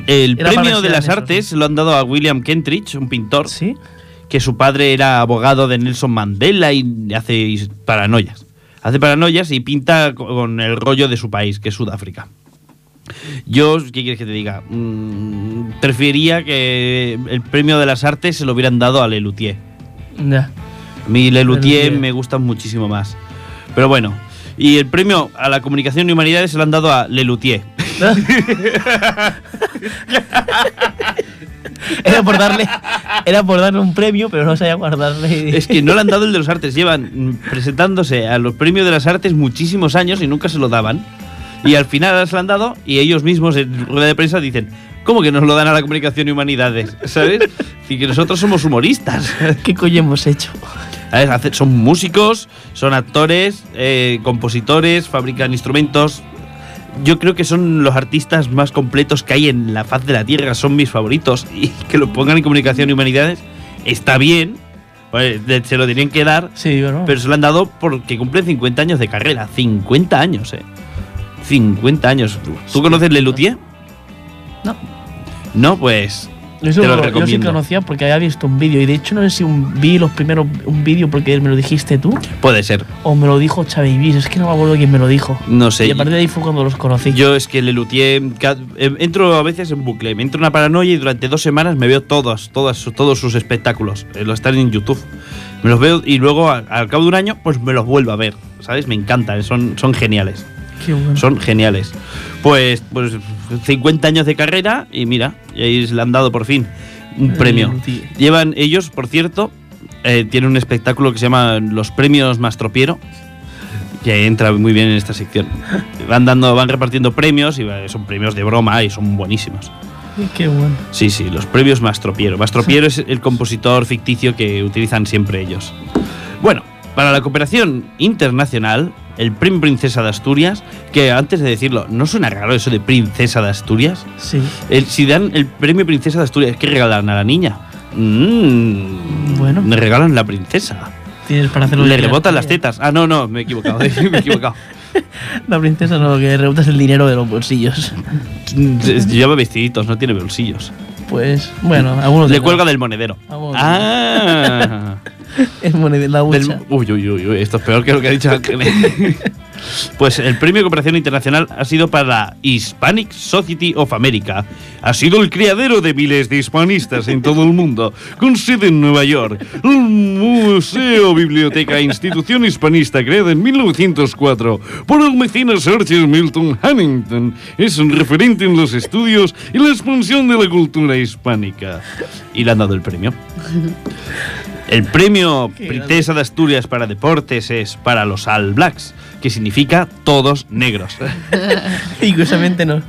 Speaker 2: El
Speaker 1: Era para ver
Speaker 2: premio
Speaker 1: si
Speaker 2: de
Speaker 1: eran
Speaker 2: las
Speaker 1: esos,
Speaker 2: artes
Speaker 1: sí.
Speaker 2: lo han dado a William Kentridge, un pintor,
Speaker 1: Sí.
Speaker 2: que su padre era abogado de Nelson Mandela y hace is- paranoias. Hace paranoias y pinta co- con el rollo de su país, que es Sudáfrica. Yo, ¿qué quieres que te diga? Mm, preferiría que el premio de las artes se lo hubieran dado a Lelutier.
Speaker 1: Ya.
Speaker 2: A mí Lelutier
Speaker 1: Lelutier.
Speaker 2: me gusta muchísimo más. Pero bueno, y el premio a la comunicación y humanidades se lo han dado a Lelutier.
Speaker 1: Era por darle, era por darle un premio, pero no sabía guardarle.
Speaker 2: Es que no le han dado el de las artes. Llevan mm, presentándose a los premios de las artes muchísimos años y nunca se lo daban. Y al final ahora se lo han dado y ellos mismos en rueda de prensa dicen, ¿cómo que nos lo dan a la comunicación y humanidades? ¿Sabes? Y que nosotros somos humoristas.
Speaker 1: ¿Qué coño hemos hecho?
Speaker 2: A ver, hace- Son músicos, son actores, eh, compositores, fabrican instrumentos. Yo creo que son los artistas más completos que hay en la faz de la Tierra, son mis favoritos. Y que lo pongan en comunicación y humanidades está bien, Pues, de- se lo tenían que dar,
Speaker 1: Sí, bueno.
Speaker 2: pero se lo han dado porque cumplen 50 años de carrera. 50 años, eh. 50 años. ¿Tú conoces Lelutier?
Speaker 1: No.
Speaker 2: No, pues.
Speaker 1: Yo
Speaker 2: te
Speaker 1: yo
Speaker 2: lo
Speaker 1: sí
Speaker 2: recomiendo.
Speaker 1: conocía porque había visto un vídeo. Y de hecho, no sé si un, vi los primeros un vídeo porque me lo dijiste tú
Speaker 2: Puede ser.
Speaker 1: o me lo dijo Xavi Ibis. Es que no me acuerdo quién me lo dijo.
Speaker 2: No sé.
Speaker 1: Y a partir de ahí fue cuando los conocí.
Speaker 2: Yo es que Lelutier. ca- eh, Entro a veces en bucle. Me entro en una paranoia y durante dos semanas me veo todos, todas, su- todos sus espectáculos. Eh, Lo están en YouTube. Me los veo y luego a- al cabo de un año, pues me los vuelvo a ver. ¿Sabes? Me encantan. Son, son geniales.
Speaker 1: Qué bueno.
Speaker 2: Son geniales. Pues, pues 50 años de carrera y mira, y ahí se le han dado por fin
Speaker 1: Mm.
Speaker 2: un premio.
Speaker 1: Lelutier.
Speaker 2: Llevan ellos, por cierto, eh, tienen un espectáculo que se llama Los Premios Mastropiero, que entra muy bien en esta sección. Van dando, van repartiendo premios y va- son premios de broma y son buenísimos.
Speaker 1: Qué bueno.
Speaker 2: Sí, sí, los premios Mastropiero. Mastropiero es el compositor ficticio que utilizan siempre ellos. Bueno, para la cooperación internacional, el Premio Princesa de Asturias, que antes de decirlo, ¿no suena raro eso de Princesa de Asturias?
Speaker 1: Sí.
Speaker 2: El- si dan el premio Princesa de Asturias, ¿qué regalan a la niña? Mm,
Speaker 1: Bueno.
Speaker 2: Le regalan la princesa.
Speaker 1: Tienes para hacerlo.
Speaker 2: Le rebotan las tetas. Ah, no, no, me he equivocado. me he equivocado.
Speaker 1: La princesa no, que rebotas el dinero de los bolsillos.
Speaker 2: Lleva vestiditos, no tiene bolsillos.
Speaker 1: Pues, bueno, algunos.
Speaker 2: Le cuelga del monedero.
Speaker 1: Ah, bueno.
Speaker 2: Ah.
Speaker 1: Es moneda en la
Speaker 2: Del-
Speaker 1: hucha.
Speaker 2: uy, uy, uy, uy, esto es peor que lo que ha dicho Ángel. pues el premio de cooperación internacional ha sido para la Hispanic Society of America. Ha sido el criadero de miles de hispanistas en todo el mundo, con sede en Nueva York. Un museo, biblioteca e institución hispanista creada en 1904 por el mecenas Archer Milton Huntington. Es un referente en los estudios y la expansión de la cultura hispánica. Y le han dado el premio. El premio
Speaker 1: Qué
Speaker 2: Princesa de Asturias para deportes es para los All Blacks, que significa todos negros.
Speaker 1: Y curiosamente no.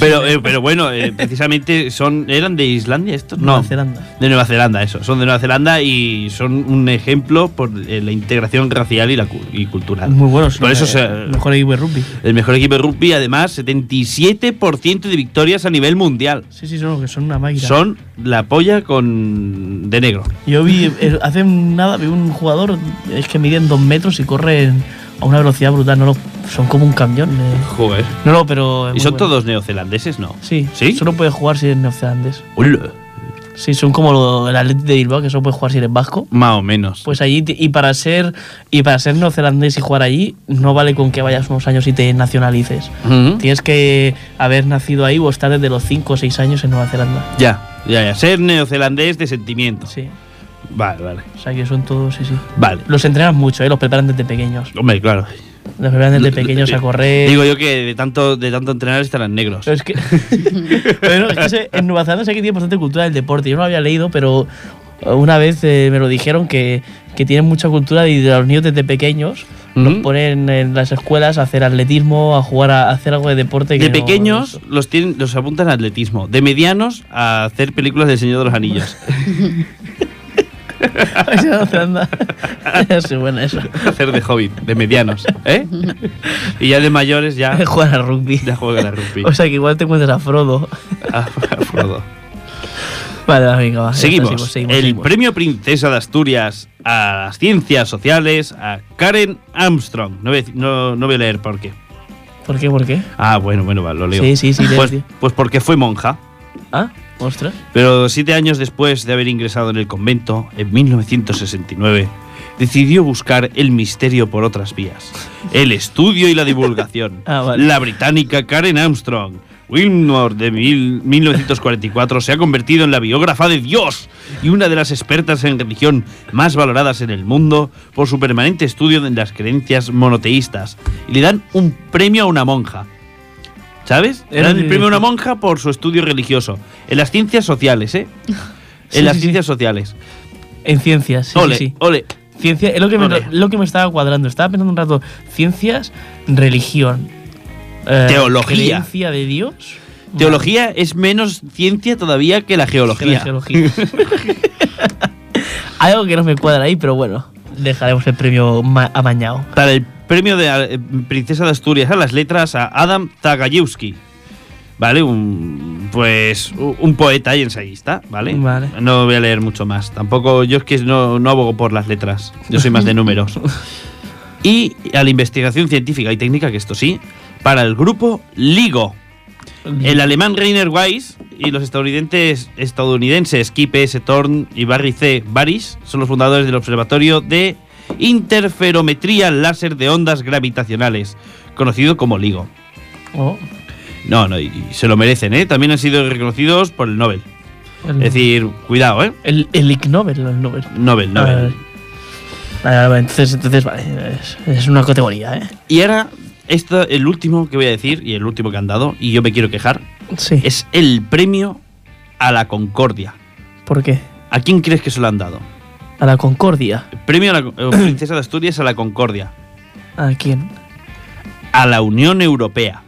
Speaker 2: Pero, eh, pero bueno, eh, precisamente son eran de Islandia estos, no,
Speaker 1: Nueva Zelanda.
Speaker 2: de Nueva Zelanda, eso, son de Nueva Zelanda y son un ejemplo por eh, la integración racial y la cu- y cultural.
Speaker 1: Muy buenos.
Speaker 2: Por eso
Speaker 1: eh,
Speaker 2: se-
Speaker 1: Mejor equipo de rugby.
Speaker 2: el mejor equipo de rugby, además, 77% de victorias a nivel mundial.
Speaker 1: Sí, sí, son los que son una máquina.
Speaker 2: Son la polla con de negro.
Speaker 1: Yo vi, eh, hace nada, vi un jugador, es que miden dos metros y corre a una velocidad brutal. No lo Son como un camión. eh.
Speaker 2: Joder.
Speaker 1: No, no, pero. es
Speaker 2: ¿Y
Speaker 1: muy
Speaker 2: son
Speaker 1: bueno.
Speaker 2: todos neozelandeses, no?
Speaker 1: Sí.
Speaker 2: ¿Sí?
Speaker 1: Solo puedes jugar si eres neozelandés.
Speaker 2: Hola.
Speaker 1: Sí, son como lo- el Atlético de Bilbao, que solo puedes jugar si eres vasco.
Speaker 2: Más o menos.
Speaker 1: Pues allí, te- y para ser y para ser neozelandés y jugar allí, no vale con que vayas unos años y te nacionalices.
Speaker 2: Ujú.
Speaker 1: Tienes que haber nacido ahí o estar desde los 5 o 6 años en Nueva Zelanda.
Speaker 2: Ya, ya, ya. Ser neozelandés de sentimiento.
Speaker 1: Sí,
Speaker 2: Vale, vale.
Speaker 1: o sea que son todos, sí, sí.
Speaker 2: Vale.
Speaker 1: Los entrenan mucho, ¿eh? los preparan desde pequeños.
Speaker 2: Hombre, claro.
Speaker 1: Los preparan desde pequeños a correr.
Speaker 2: Digo yo que de tanto, de tanto entrenar estarán negros.
Speaker 1: Pero es que. Bueno, es que se- en Nueva Zelanda sé que tiene bastante cultura del deporte. Yo no lo había leído, pero una vez eh, me lo dijeron que, que tienen mucha cultura y de los niños desde pequeños
Speaker 2: Ujú.
Speaker 1: ponen en las escuelas a hacer atletismo, a jugar, a hacer algo de deporte. que
Speaker 2: De
Speaker 1: no-
Speaker 2: pequeños los, tienen, los apuntan a atletismo. De medianos a hacer películas del Señor de los Anillos.
Speaker 1: Es Nueva Zelanda. sí, bueno, eso.
Speaker 2: hacer de hobbit. De medianos. ¿Eh? Y ya de mayores ya,
Speaker 1: Jugar al rugby.
Speaker 2: ya juegan a rugby.
Speaker 1: O sea que igual te encuentras a Frodo.
Speaker 2: Ah, Frodo.
Speaker 1: Vale, venga, va.
Speaker 2: Seguimos.
Speaker 1: seguimos,
Speaker 2: el
Speaker 1: seguimos.
Speaker 2: premio Princesa de Asturias a las ciencias sociales a Karen Armstrong. No voy, a dec- no- no voy a leer por qué.
Speaker 1: ¿Por qué? ¿Por qué?
Speaker 2: Ah, bueno, bueno, vale, lo leo.
Speaker 1: Sí, sí, sí, leo,
Speaker 2: Pues,
Speaker 1: tío.
Speaker 2: pues porque fue monja,
Speaker 1: Ah, ostras.
Speaker 2: pero siete años después de haber ingresado en el convento, en 1969, decidió buscar el misterio por otras vías. El estudio y la divulgación.
Speaker 1: Ah, vale.
Speaker 2: La británica Karen Armstrong. Wilmore de mil- 1944 se ha convertido en la biógrafa de Dios y una de las expertas en religión más valoradas en el mundo por su permanente estudio de las creencias monoteístas. Y le dan un premio a una monja. ¿Sabes? Le
Speaker 1: Era
Speaker 2: dan el
Speaker 1: de-
Speaker 2: premio a una monja por su estudio religioso. En las ciencias sociales, ¿eh? En
Speaker 1: Sí,
Speaker 2: las
Speaker 1: sí, sí.
Speaker 2: ciencias sociales.
Speaker 1: En ciencias, sí,
Speaker 2: ole,
Speaker 1: sí, sí.
Speaker 2: ole.
Speaker 1: Ciencia, es lo que, me,
Speaker 2: Ole.
Speaker 1: lo que me estaba cuadrando. Estaba pensando un rato, ciencias, religión, eh,
Speaker 2: Teología.
Speaker 1: creencia de Dios.
Speaker 2: Teología es menos ciencia todavía que la
Speaker 1: Que la
Speaker 2: geología.
Speaker 1: geología. Hay algo que no me cuadra ahí, pero bueno, dejaremos el premio ma- amañado.
Speaker 2: Para el premio de eh, Princesa de Asturias a las letras a Adam Zagajewski. ¿Vale? Un, pues u- un poeta y ensayista, ¿vale?
Speaker 1: Vale.
Speaker 2: No voy a leer mucho más. Tampoco, yo es que no, no abogo por las letras. Yo soy más de números. Y a la investigación científica y técnica, que esto sí, para el grupo LIGO. El alemán Rainer Weiss y los estadounidenses, estadounidenses Kip S. Thorne y Barry C. Baris son los fundadores del Observatorio de Interferometría Láser de Ondas Gravitacionales, conocido como LIGO.
Speaker 1: Oh,
Speaker 2: No, no, y, y se lo merecen, ¿eh? También han sido reconocidos por el Nobel.
Speaker 1: el,
Speaker 2: Es decir, cuidado, ¿eh?
Speaker 1: el, el Ig Nobel, el Nobel.
Speaker 2: Nobel,
Speaker 1: A ver.
Speaker 2: Nobel.
Speaker 1: Vale, vale, entonces, entonces, vale, es, es una categoría, ¿eh?
Speaker 2: Y ahora, esto, el último que voy a decir, y el último que han dado, y yo me quiero quejar,
Speaker 1: Sí.
Speaker 2: es el premio a la Concordia.
Speaker 1: ¿Por qué?
Speaker 2: ¿A quién crees que se lo han dado?
Speaker 1: A la Concordia.
Speaker 2: Premio a la eh, Princesa de Asturias a la Concordia,
Speaker 1: ¿A quién?
Speaker 2: a la Unión Europea.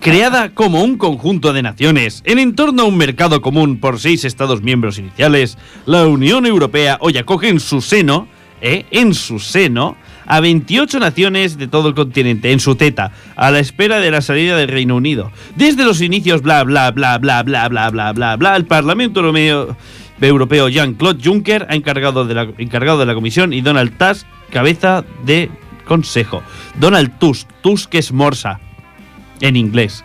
Speaker 2: Creada como un conjunto de naciones en entorno a un mercado común por seis Estados miembros iniciales, la Unión Europea hoy acoge en su seno, ¿eh? en su seno, a 28 naciones de todo el continente, en su teta, a la espera de la salida del Reino Unido. Desde los inicios, bla, bla, bla, bla, bla, bla, bla, bla, bla, el Parlamento Europeo europeo Jean-Claude Juncker ha encargado de, la, encargado de la comisión y Donald Tusk, cabeza de consejo. Donald Tusk, Tusk es morsa en inglés,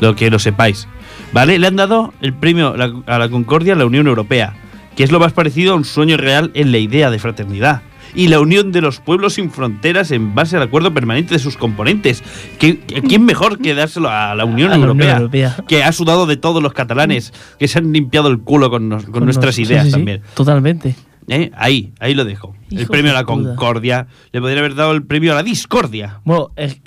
Speaker 2: lo que lo sepáis. ¿Vale? Le han dado el premio la- a la Concordia a la Unión Europea, que es lo más parecido a un sueño real en la idea de fraternidad. Y la unión de los pueblos sin fronteras en base al acuerdo permanente de sus componentes. ¿Qué- ¿A quién mejor que dárselo a la Unión
Speaker 1: A la Unión
Speaker 2: Europea?
Speaker 1: Europea.
Speaker 2: Que ha sudado de todos los catalanes, que se han limpiado el culo con, nos- con nuestras
Speaker 1: Sí,
Speaker 2: ideas
Speaker 1: sí, sí,
Speaker 2: también.
Speaker 1: Totalmente.
Speaker 2: ¿Eh? Ahí, ahí lo dejo. el
Speaker 1: Hijo
Speaker 2: premio a
Speaker 1: de
Speaker 2: la
Speaker 1: puta.
Speaker 2: concordia. Le podría haber dado el premio a la discordia.
Speaker 1: Bueno, es-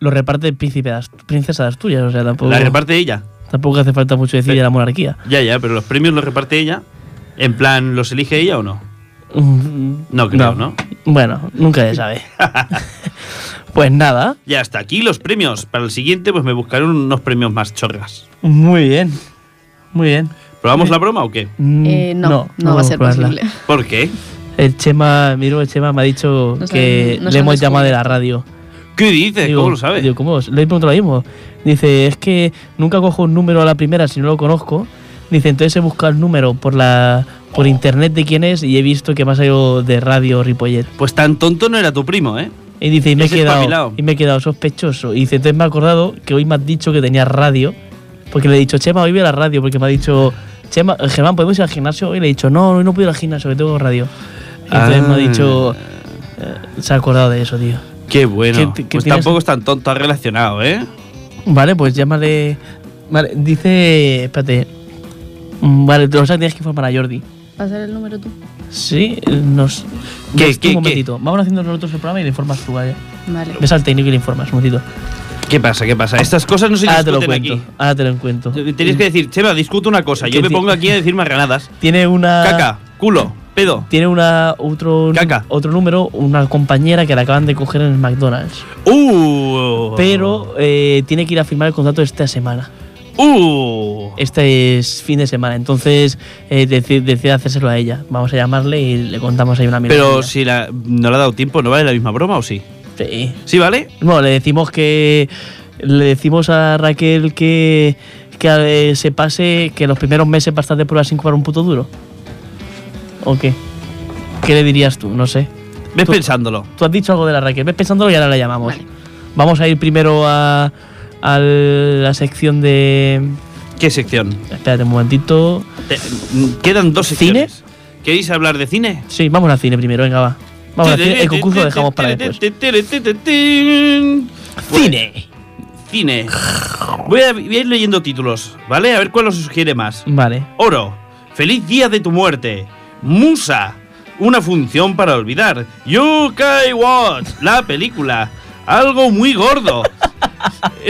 Speaker 1: lo reparte el príncipe de Ast- princesa de Asturias, o sea, tampoco,
Speaker 2: La reparte ella.
Speaker 1: tampoco hace falta mucho decir
Speaker 2: Sí.
Speaker 1: de la monarquía.
Speaker 2: Ya, ya, pero los premios los reparte ella. En plan, ¿los elige ella o no?
Speaker 1: Mm,
Speaker 2: No creo, ¿no?
Speaker 1: Bueno, nunca se sabe. pues nada,
Speaker 2: Ya hasta aquí los premios. Para el siguiente, pues me buscaré unos premios más chorras.
Speaker 1: muy bien. Muy bien.
Speaker 2: ¿Probamos la broma o qué?
Speaker 1: Mm,
Speaker 3: Eh, no, no, va a
Speaker 1: vamos
Speaker 3: ser
Speaker 1: probarla.
Speaker 3: posible.
Speaker 2: ¿Por qué?
Speaker 1: El Chema, miro el Chema me ha dicho
Speaker 3: Nos
Speaker 1: que
Speaker 3: han- nos
Speaker 1: le
Speaker 3: han
Speaker 1: hemos llamado de la radio.
Speaker 3: descubierto.
Speaker 2: ¿Qué dices?
Speaker 1: Digo,
Speaker 2: ¿Cómo lo sabes?
Speaker 1: Digo, ¿cómo? Le he preguntado lo mismo. Dice, es que nunca cojo un número a la primera si no lo conozco. Dice, entonces he buscado el número por la
Speaker 2: Oh.
Speaker 1: por internet de quién es y he visto que me ha salido de Radio Ripollet.
Speaker 2: Pues tan tonto no era tu primo, ¿eh?
Speaker 1: Y dice, y me, he
Speaker 2: Es
Speaker 1: quedado,
Speaker 2: espabilado.
Speaker 1: y me he quedado sospechoso. Y dice, entonces me he acordado que hoy me has dicho que tenías radio. Porque le he dicho, Chema, hoy voy a la radio. Porque me ha dicho, Chema, eh, Germán, ¿podemos ir al gimnasio? Y le he dicho, no, hoy no puedo ir al gimnasio, que tengo radio. Y entonces
Speaker 2: Ah.
Speaker 1: me ha dicho, eh, se ha acordado de eso, tío.
Speaker 2: Qué bueno.
Speaker 1: ¿Qué- qué
Speaker 2: pues
Speaker 1: tienes?
Speaker 2: tampoco es tan tonto, has relacionado, ¿eh?
Speaker 1: Vale, pues llámale. Vale, dice, espérate. Mm, Vale, te lo sabes, tienes que informar a Jordi.
Speaker 3: Pasar el número tú.
Speaker 1: Sí, eh, nos.
Speaker 2: ¿Qué,
Speaker 1: nos-
Speaker 2: qué,
Speaker 1: un
Speaker 2: qué?
Speaker 1: momentito. Vamos haciendo nosotros el programa y le informas tú, ¿vale?
Speaker 3: Vale.
Speaker 1: Ves al técnico y le informas, un momentito.
Speaker 2: ¿Qué pasa? ¿Qué pasa? Estas cosas no se
Speaker 1: Ahora Ah, te lo
Speaker 2: discuten
Speaker 1: cuento.
Speaker 2: aquí.
Speaker 1: Ahora te lo cuento.
Speaker 2: Tenéis que decir, Chema, discuto una cosa. Yo
Speaker 1: Que
Speaker 2: me
Speaker 1: ti-
Speaker 2: pongo aquí a decir marranadas.
Speaker 1: Tiene una.
Speaker 2: Caca, culo, pedo.
Speaker 1: Tiene una otro
Speaker 2: Caca.
Speaker 1: otro número, una compañera que la acaban de coger en el McDonald's.
Speaker 2: ¡Uh!
Speaker 1: Pero eh, tiene que ir a firmar el contrato esta semana.
Speaker 2: ¡Uh!
Speaker 1: Este es fin de semana. Entonces eh, deci- decide hacérselo a ella. Vamos a llamarle y le contamos ahí una mierda.
Speaker 2: Pero si la, no le ha dado tiempo, ¿no vale la misma broma o sí?
Speaker 1: Sí.
Speaker 2: ¿Sí vale?
Speaker 1: Bueno, le decimos que. Le decimos a Raquel que. Que eh, se pase. Que los primeros meses va a estar de prueba sin cobrar un puto duro. ¿O qué? ¿Qué le dirías tú? No sé.
Speaker 2: Ves
Speaker 1: Tú-
Speaker 2: pensándolo.
Speaker 1: Tú has dicho algo de la Raquel. Ves pensándolo y ahora la llamamos.
Speaker 3: Vale.
Speaker 1: Vamos a ir primero a. A la sección de.
Speaker 2: ¿Qué sección?
Speaker 1: Espérate un momentito.
Speaker 2: Te- mm, quedan dos
Speaker 1: ¿Cine?
Speaker 2: secciones. ¿Queréis hablar de cine?
Speaker 1: Sí, vamos al cine primero, venga, va. Vamos al cine. El concurso lo dejamos para después.
Speaker 2: Cine. Cine. Voy a, voy a ir leyendo títulos, ¿vale? A ver cuál os sugiere más.
Speaker 1: Vale.
Speaker 2: Oro. Feliz día de tu muerte. Musa. Una función para olvidar. You can watch. La película. Algo muy gordo.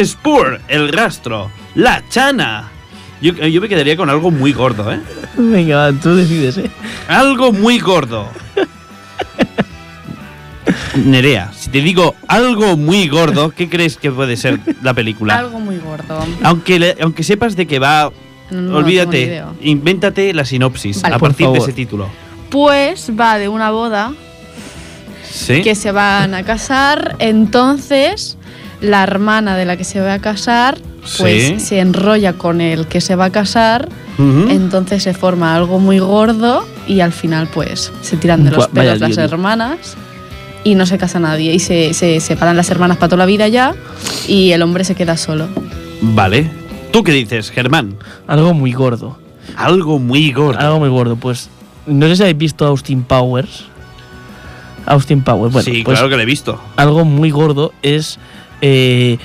Speaker 2: Spur. El rastro. La chana. Yo, eh, yo me quedaría con algo muy gordo, ¿eh?
Speaker 1: Venga, va, tú decides, ¿eh?
Speaker 2: Algo muy gordo. Nerea, si te digo algo muy gordo, ¿qué crees que puede ser la película?
Speaker 3: Algo muy gordo.
Speaker 2: Aunque, le- aunque sepas de qué va,
Speaker 3: No, no tengo ni
Speaker 2: olvídate,
Speaker 3: idea.
Speaker 2: invéntate la sinopsis
Speaker 3: Vale.
Speaker 2: a
Speaker 1: Por
Speaker 2: partir de
Speaker 1: favor.
Speaker 2: ese título.
Speaker 3: Pues va de una boda
Speaker 2: ¿Sí?
Speaker 3: que se van a casar, entonces la hermana de la que se va a casar pues
Speaker 2: Sí.
Speaker 3: se enrolla con el que se va a casar,
Speaker 2: Ujú.
Speaker 3: entonces se forma algo muy gordo y al final pues se tiran de los
Speaker 1: Buah, vaya
Speaker 3: pelos las
Speaker 1: lío, tío.
Speaker 3: hermanas y no se casa nadie y se, se separan las hermanas para toda la vida ya y el hombre se queda solo.
Speaker 2: Vale. ¿Tú qué dices, Germán?
Speaker 1: Algo muy gordo.
Speaker 2: Algo muy gordo.
Speaker 1: Algo muy gordo, pues. No sé si habéis visto Austin Powers. Austin Powers, bueno,
Speaker 2: sí,
Speaker 1: pues
Speaker 2: claro que lo he visto.
Speaker 1: algo muy gordo es. eh,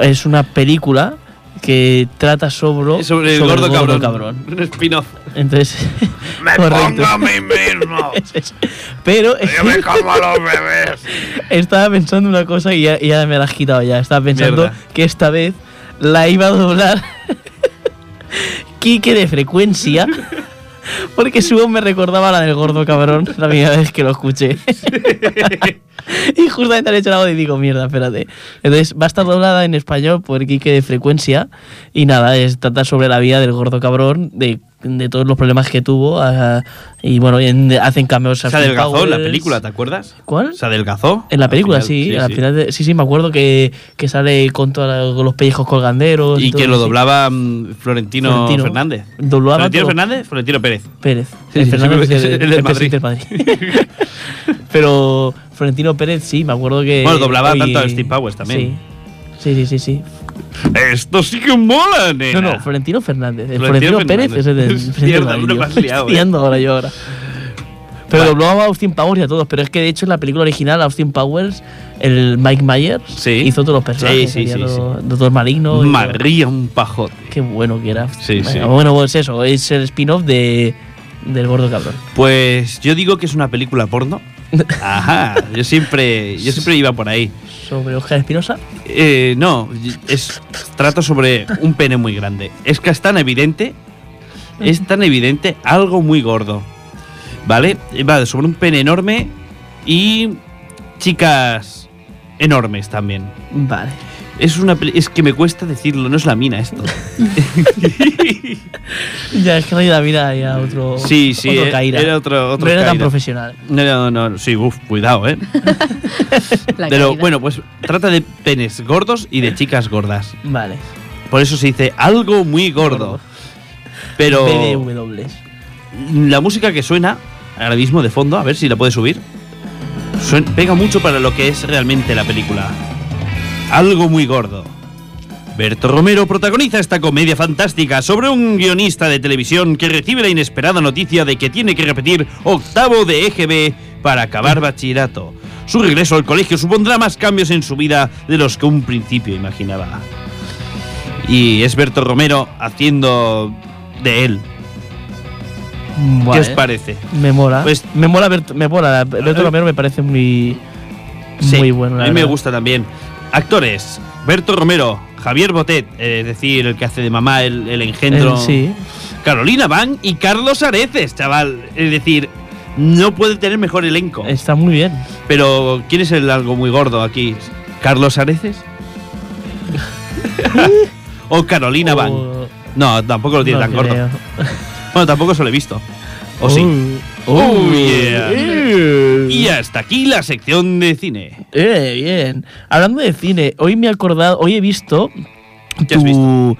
Speaker 1: es una película que trata sobre.
Speaker 2: Es Sobre el gordo, cabrón. Un spin-off.
Speaker 1: Entonces. correcto.
Speaker 2: mí mismo.
Speaker 1: Es eso. Pero
Speaker 2: como a los bebés.
Speaker 1: estaba pensando una cosa y ya, y ya me la has quitado ya. Estaba pensando
Speaker 2: Mierda.
Speaker 1: que esta vez la iba a doblar Quique de frecuencia. Porque su voz me recordaba a la del gordo cabrón la primera vez que lo escuché. y justamente le he hecho la voz y digo, mierda, espérate. Entonces va a estar doblada en español por Quique de frecuencia. Y nada, es, trata sobre la vida del gordo cabrón, de, de todos los problemas que tuvo. ah, y bueno, en- hacen cambios.
Speaker 2: Se adelgazó en la
Speaker 1: Powers.
Speaker 2: película, ¿te acuerdas?
Speaker 1: ¿Cuál?
Speaker 2: Se adelgazó.
Speaker 1: En la
Speaker 2: Al
Speaker 1: película,
Speaker 2: final,
Speaker 1: sí. al final de- sí, sí, me acuerdo que, que sale con toda la- con los pellejos colganderos.
Speaker 2: Y
Speaker 1: todo,
Speaker 2: que lo
Speaker 1: sí.
Speaker 2: doblaba mm, Florentino,
Speaker 1: Florentino.
Speaker 2: Fernández.
Speaker 1: Doblaba
Speaker 2: Florentino
Speaker 1: todo.
Speaker 2: Fernández, Florentino Pérez.
Speaker 1: Pérez.
Speaker 2: Sí,
Speaker 1: El
Speaker 2: sí,
Speaker 1: Fernández
Speaker 2: sí,
Speaker 1: es el,
Speaker 2: el
Speaker 1: el
Speaker 2: del
Speaker 1: presidente del Madrid. Pero Florentino Pérez, sí, me acuerdo que.
Speaker 2: Bueno, doblaba tanto a Steve Powers también.
Speaker 1: Sí. Sí, sí, sí, sí.
Speaker 2: Esto sí que mola, nena.
Speaker 1: No, no, Florentino Fernández. El
Speaker 2: Eh, Florentino
Speaker 1: Florentino, Pérez es el del
Speaker 2: Fernández.
Speaker 1: presidente del
Speaker 2: Mierda,
Speaker 1: Madrid,
Speaker 2: uno
Speaker 1: yo.
Speaker 2: más liado,
Speaker 1: Estoy
Speaker 2: eh.
Speaker 1: liando ahora yo ahora. Pero
Speaker 2: Vale.
Speaker 1: doblaba a Austin Powers y a todos. Pero es que de hecho en la película original, Austin Powers, el Mike Myers,
Speaker 2: Sí.
Speaker 1: hizo todos los personajes.
Speaker 2: Sí, sí,
Speaker 1: hacía
Speaker 2: sí,
Speaker 1: todo- Doctor Maligno. y todo.
Speaker 2: María un pajote.
Speaker 1: Qué bueno que era.
Speaker 2: Sí,
Speaker 1: bueno,
Speaker 2: sí.
Speaker 1: bueno, pues eso, es el spin-off de, del gordo cabrón.
Speaker 2: Pues yo digo que es una película porno. Ajá, yo siempre, yo siempre iba por ahí.
Speaker 1: Sobre Oscar Espinosa.
Speaker 2: Eh, no, es trato sobre un pene muy grande. Es que es tan evidente, es tan evidente algo muy gordo. ¿Vale? Va sobre un pene enorme y chicas enormes también.
Speaker 1: Vale.
Speaker 2: Es una peli- es que me cuesta decirlo, no es la mina esto.
Speaker 1: Ya es que no hay la vida ya otro.
Speaker 2: Sí, sí,
Speaker 1: otro
Speaker 2: eh,
Speaker 1: Caira.
Speaker 2: era otro, otro
Speaker 1: no era tan
Speaker 2: Caira.
Speaker 1: profesional.
Speaker 2: No, no, no, no, sí, uf, cuidado, ¿eh?
Speaker 3: La
Speaker 2: Pero
Speaker 3: caída.
Speaker 2: bueno, pues trata de penes gordos y de chicas gordas.
Speaker 1: Vale.
Speaker 2: Por eso se dice algo muy gordo.
Speaker 1: Gordo.
Speaker 2: Pero
Speaker 1: BDW.
Speaker 2: la música que suena ahora mismo de fondo, a ver si la puedes subir. Suen- pega mucho para lo que es realmente la película. Algo muy gordo. Berto Romero protagoniza esta comedia fantástica sobre un guionista de televisión que recibe la inesperada noticia de que tiene que repetir octavo de EGB para acabar bachillerato. Su regreso al colegio supondrá más cambios en su vida de los que un principio imaginaba. Y es Berto Romero haciendo de él. ¿Qué
Speaker 1: Vale.
Speaker 2: os parece?
Speaker 1: Me mola.
Speaker 2: Pues-
Speaker 1: me mola Bert- me mola. Berto Romero me parece muy
Speaker 2: Sí,
Speaker 1: muy bueno. la
Speaker 2: A mí me
Speaker 1: verdad.
Speaker 2: gusta también. Actores: Berto Romero, Javier Botet, eh, es decir, el que hace de mamá el, el engendro.
Speaker 1: Eh, sí.
Speaker 2: Carolina Van y Carlos Areces, chaval. Es decir, no puede tener mejor elenco.
Speaker 1: Está muy bien.
Speaker 2: Pero, ¿quién es el algo muy gordo aquí? ¿Carlos Areces? ¿O Carolina Van?
Speaker 1: O-
Speaker 2: No, tampoco lo tiene
Speaker 1: Oh. no
Speaker 2: tan gordo.
Speaker 1: creo.
Speaker 2: Bueno, tampoco se lo he visto. ¿O sí?
Speaker 1: Uh,
Speaker 2: Oh,
Speaker 1: uh,
Speaker 2: yeah.
Speaker 1: eh.
Speaker 2: Y hasta aquí la sección de cine.
Speaker 1: Eh, bien. Hablando de cine, hoy me he acordado, hoy he visto
Speaker 2: ¿Qué has
Speaker 1: tu,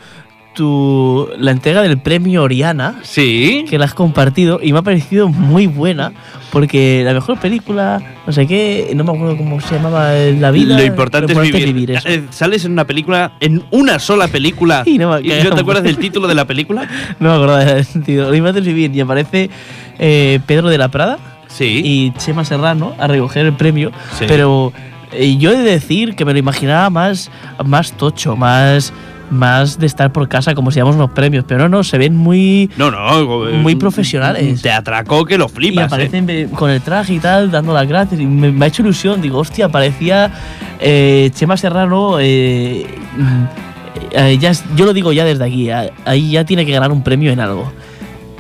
Speaker 1: tu la entrega del premio Oriana
Speaker 2: Sí.
Speaker 1: que la has compartido y me ha parecido muy buena porque la mejor película, no sé qué, no me acuerdo cómo se llamaba, eh, la vida.
Speaker 2: Lo importante, es vivir.
Speaker 1: eso.
Speaker 2: Eh, Sales en una película, en una sola película.
Speaker 1: Y no me
Speaker 2: ¿Y
Speaker 1: acuerdo.
Speaker 2: te acuerdas del título de la película?
Speaker 1: No me acuerdo del sentido. Lo importante es vivir y aparece eh, Pedro de la Prada
Speaker 2: Sí.
Speaker 1: y Chema Serrano a recoger el premio,
Speaker 2: Sí.
Speaker 1: pero eh, yo he de decir que me lo imaginaba más, más tocho, más, más de estar por casa, como se llaman los premios, pero no, no, se ven muy...
Speaker 2: no, no. eh,
Speaker 1: Muy profesionales.
Speaker 2: Te atracó que lo
Speaker 1: Y
Speaker 2: flipas. eh.
Speaker 1: aparecen eh, con el traje y tal, dando las gracias. Y me, me ha hecho ilusión. Digo, hostia, parecía eh, Chema Serrano. eh, mm, eh, ya es- yo lo digo ya desde aquí. a- Ahí ya tiene que ganar un premio en algo.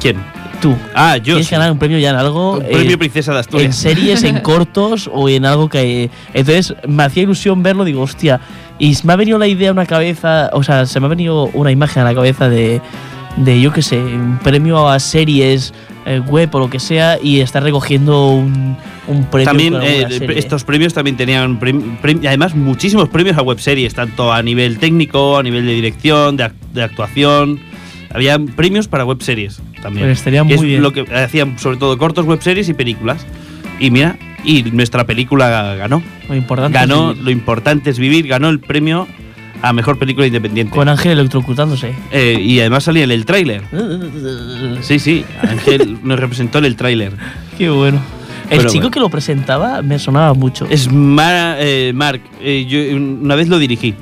Speaker 2: ¿Quién?
Speaker 1: Tú.
Speaker 2: Ah, yo.
Speaker 1: tienes
Speaker 2: sí.
Speaker 1: que ganar un premio ya en algo.
Speaker 2: Un
Speaker 1: eh,
Speaker 2: premio Princesa de
Speaker 1: en
Speaker 2: Asturias.
Speaker 1: series, en cortos o en algo que... Entonces me hacía ilusión verlo, digo, hostia, y me ha venido la idea a una cabeza, o sea, se me ha venido una imagen a la cabeza de, de yo qué sé, un premio a series, eh, web o lo que sea, y está recogiendo un, un premio.
Speaker 2: También
Speaker 1: por alguna
Speaker 2: eh,
Speaker 1: serie.
Speaker 2: estos premios también tenían prim- prim- y además muchísimos premios a webseries, tanto a nivel técnico, a nivel de dirección, de, ac- de actuación. Había premios para webseries también.
Speaker 1: Pues estaría
Speaker 2: Que es
Speaker 1: muy bien.
Speaker 2: lo que hacían sobre todo cortos webseries y películas. Y mira, y nuestra película ganó.
Speaker 1: Lo importante es
Speaker 2: ganó,
Speaker 1: vivir.
Speaker 2: lo importante es vivir, ganó el premio a mejor película independiente.
Speaker 1: Con Ángel electrocutándose.
Speaker 2: Eh, y además salía en el tráiler. Sí, sí, Ángel nos representó en el tráiler.
Speaker 1: Qué bueno. El
Speaker 2: Pero
Speaker 1: chico
Speaker 2: bueno.
Speaker 1: que lo presentaba me sonaba mucho.
Speaker 2: Es Mar- eh, Mark, eh, yo una vez lo dirigí.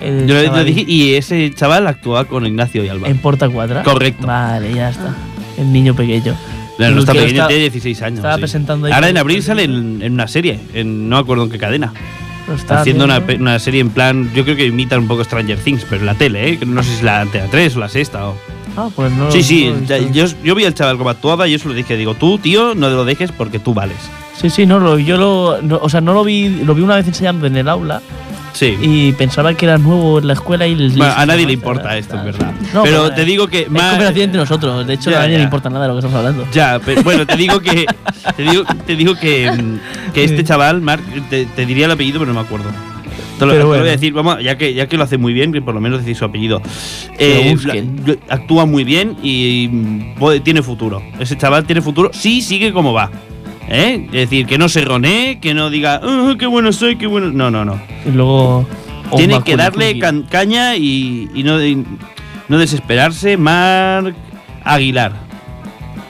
Speaker 1: El
Speaker 2: Yo una vez lo
Speaker 1: chavalín.
Speaker 2: dirigí y ese chaval actúa con Ignacio y Alba.
Speaker 1: En Porta Cuadra.
Speaker 2: Correcto.
Speaker 1: Vale, ya está. El niño pequeño.
Speaker 2: No, no está
Speaker 1: Porque
Speaker 2: pequeño,
Speaker 1: está-
Speaker 2: tiene 16 años.
Speaker 1: estaba presentando ahí
Speaker 2: Ahora en
Speaker 1: con-
Speaker 2: abril sale en, en una serie, en, no me acuerdo en qué cadena.
Speaker 1: Lo está
Speaker 2: Está haciendo una,
Speaker 1: viendo.
Speaker 2: pe- una serie en plan, yo creo que imita un poco Stranger Things, pero en la tele, ¿eh? No sé si es la Antena 3 o la sexta o...
Speaker 1: Ah, pues no.
Speaker 2: sí, sí,
Speaker 1: no lo he
Speaker 2: ya-
Speaker 1: visto.
Speaker 2: yo, yo vi al chaval como actuaba y yo se lo dije, digo, tú, tío, no lo dejes porque tú vales.
Speaker 1: Sí, sí, no, lo- yo lo. no, o sea, no lo vi. Lo vi una vez enseñando en el aula
Speaker 2: Sí.
Speaker 1: y pensaba que era nuevo en la escuela y. les-
Speaker 2: Bueno, a nadie le
Speaker 1: Ah,
Speaker 2: importa esto,
Speaker 1: ah,
Speaker 2: es verdad.
Speaker 1: no,
Speaker 2: pero
Speaker 1: bueno,
Speaker 2: te digo que...
Speaker 1: Es
Speaker 2: más-
Speaker 1: cooperación entre nosotros. De hecho,
Speaker 2: Ya,
Speaker 1: a nadie le
Speaker 2: ya.
Speaker 1: importa nada de lo que estamos hablando.
Speaker 2: Ya, pero bueno, te digo que te digo, te digo que, mm, que este chaval, Mark, te, te diría el apellido, pero no me acuerdo. Te lo,
Speaker 1: Pero
Speaker 2: te lo
Speaker 1: bueno.
Speaker 2: voy a decir, vamos, ya que, ya que lo hace muy bien, que por lo menos decir su apellido.
Speaker 1: lo
Speaker 2: Eh,
Speaker 1: busquen.
Speaker 2: la- actúa muy bien y mm, puede- tiene futuro. Ese chaval tiene futuro, sí sigue como va. ¿eh? Es decir, que no se ronee, que no diga, "Ah, qué bueno soy, qué bueno. No, no, no.
Speaker 1: Y luego.
Speaker 2: Tiene
Speaker 1: Oma
Speaker 2: que darle
Speaker 1: Kulikuri.
Speaker 2: can- caña y, y no, y no desesperarse. Marc Aguilar.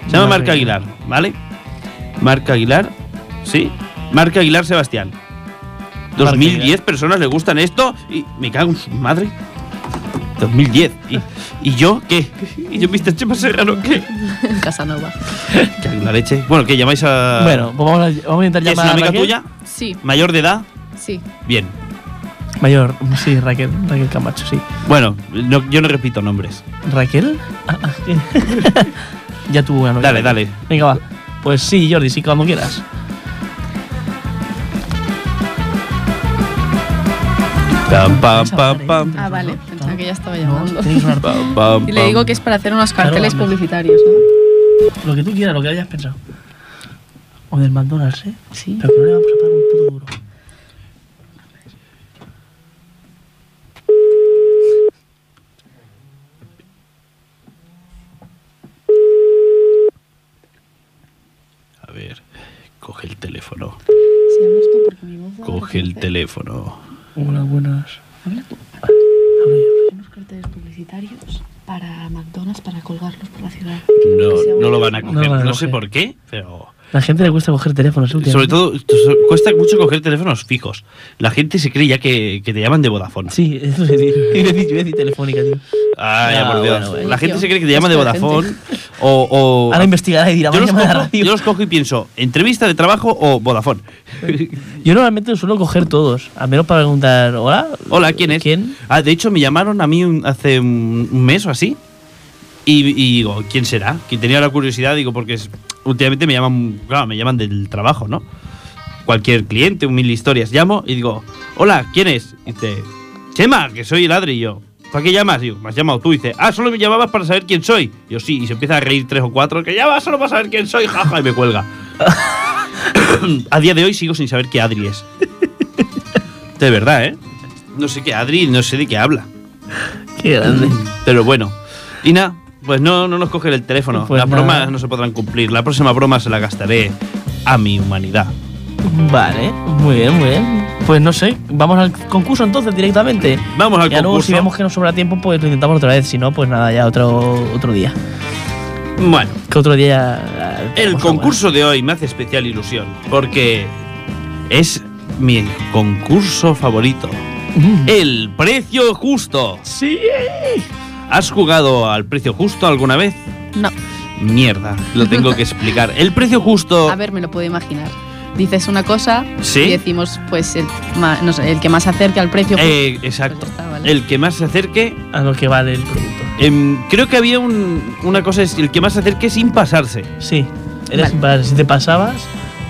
Speaker 2: Se llama
Speaker 1: Marc
Speaker 2: Marc Aguilar, ¿vale? Marc Aguilar, sí. Marc Aguilar Sebastián.
Speaker 1: Marc
Speaker 2: 2010
Speaker 1: Aguilar.
Speaker 2: personas le gustan esto y me cago en su madre. 2010. ¿Y, y yo qué? ¿Y yo, Mr. Chema Serrano, qué?
Speaker 3: Casanova.
Speaker 2: Ya, La leche. Bueno, que llamáis a.
Speaker 1: Bueno, pues vamos a, vamos a intentar
Speaker 2: ¿es
Speaker 1: llamar
Speaker 2: una
Speaker 1: a
Speaker 2: amiga
Speaker 1: Raquel.
Speaker 2: tuya?
Speaker 3: Sí,
Speaker 2: ¿Mayor de edad?
Speaker 3: sí.
Speaker 2: Bien.
Speaker 1: Mayor, sí, Raquel. Raquel Camacho, sí.
Speaker 2: Bueno, no- yo no repito nombres.
Speaker 1: ¿Raquel? Ah, ah, sí. ya tuvo una novia.
Speaker 2: Dale, dale.
Speaker 1: Venga, va. Pues sí, Jordi, sí, cuando quieras.
Speaker 2: Pam, pam, pam, pam.
Speaker 3: Ah, vale. Pensaba que ya estaba
Speaker 1: No,
Speaker 3: llamando.
Speaker 1: tiene que sonar
Speaker 2: Pam, pam,
Speaker 3: Y le
Speaker 2: pam.
Speaker 3: digo que es para hacer unos
Speaker 1: Claro,
Speaker 3: carteles
Speaker 1: vamos.
Speaker 3: publicitarios, ¿no?
Speaker 1: Lo que tú quieras, lo que hayas pensado. O del McDonald's, ¿eh?
Speaker 3: Sí.
Speaker 1: Pero que no le vamos a pagar un puto duro.
Speaker 2: A ver, coge el teléfono.
Speaker 3: silenciando esto porque mi voz da-
Speaker 2: Coge el teléfono.
Speaker 1: Hola, buenas.
Speaker 3: Habla tú. Unos carteles publicitarios para McDonald's para colgarlos por la ciudad.
Speaker 2: No, no lo van a
Speaker 1: No
Speaker 2: coger.
Speaker 1: lo van a
Speaker 2: No sé
Speaker 1: coger.
Speaker 2: por qué, pero.
Speaker 1: La gente le gusta coger teléfonos
Speaker 2: Sobre
Speaker 1: últimamente.
Speaker 2: todo, so- cuesta mucho coger teléfonos fijos. La gente se cree ya que, que te llaman de Vodafone.
Speaker 1: Sí, eso es decir. Iba a decir, iba a decir telefónica, tío.
Speaker 2: Ay,
Speaker 1: Ah,
Speaker 2: por Dios.
Speaker 1: bueno, bueno.
Speaker 2: La gente se cree que te llaman de
Speaker 3: Es que la gente-
Speaker 2: Vodafone o. o-
Speaker 1: Ahora investigará y dirá,
Speaker 2: Oh.
Speaker 1: "Me
Speaker 2: yo, los
Speaker 1: llama la
Speaker 2: cojo,
Speaker 1: radio".
Speaker 2: yo los cojo y pienso, ¿entrevista de trabajo o Vodafone?
Speaker 1: Yo normalmente los suelo coger todos, al menos para preguntar, hola.
Speaker 2: Hola, ¿quién es?
Speaker 1: ¿Quién?
Speaker 2: Ah, de hecho, me llamaron a mí un- hace un un mes o así. Y, y digo, ¿quién será? Que tenía la curiosidad, digo, porque es- últimamente me llaman, claro, me llaman del trabajo, ¿no? Cualquier cliente, un mil historias. Llamo y digo, hola, ¿quién es? Y dice, Chema, que soy el Adri. Y yo, ¿para qué llamas? Digo, me has llamado tú. Y dice, ah, solo me llamabas para saber quién soy. Y yo, sí. Y se empieza a reír tres o cuatro, que llamas solo para saber quién soy, jaja, y me cuelga. a día de hoy sigo sin saber qué Adri es. De verdad, ¿eh? No sé qué Adri, no sé de qué habla.
Speaker 1: Qué grande.
Speaker 2: Pero bueno. Y nada, pues no, no nos coge el teléfono.
Speaker 1: Pues
Speaker 2: Las
Speaker 1: nada.
Speaker 2: bromas no se podrán cumplir. La próxima broma se la gastaré a mi humanidad.
Speaker 1: Vale, muy bien, muy bien. Pues no sé, vamos al concurso entonces directamente.
Speaker 2: Vamos al
Speaker 1: Ya luego
Speaker 2: concurso.
Speaker 1: si vemos que nos sobra tiempo, pues lo intentamos otra vez. Si no, pues nada, ya otro, otro día.
Speaker 2: Bueno,
Speaker 1: Que otro día... eh, ya- ya
Speaker 2: el
Speaker 1: tenemos
Speaker 2: concurso de hoy me hace especial ilusión porque es mi concurso favorito.
Speaker 1: algo. Mm.
Speaker 2: El precio justo.
Speaker 1: Sí.
Speaker 2: ¿Has jugado al precio justo alguna vez?
Speaker 3: No.
Speaker 2: Mierda, lo tengo que explicar. El precio justo.
Speaker 3: A ver, me lo puedo imaginar. Dices una cosa
Speaker 2: Oh. Sí.
Speaker 3: y decimos, pues, el, ma- no sé, el que más se acerque al precio. pues,
Speaker 2: Eh, exacto.
Speaker 3: pues ya está, ¿vale?
Speaker 2: El que más se acerque
Speaker 1: A lo que vale el producto.
Speaker 2: Em, creo que había un- una cosa, es el que más se acerque sin pasarse.
Speaker 1: Sí, eres
Speaker 3: Vale.
Speaker 1: impar. Si te pasabas,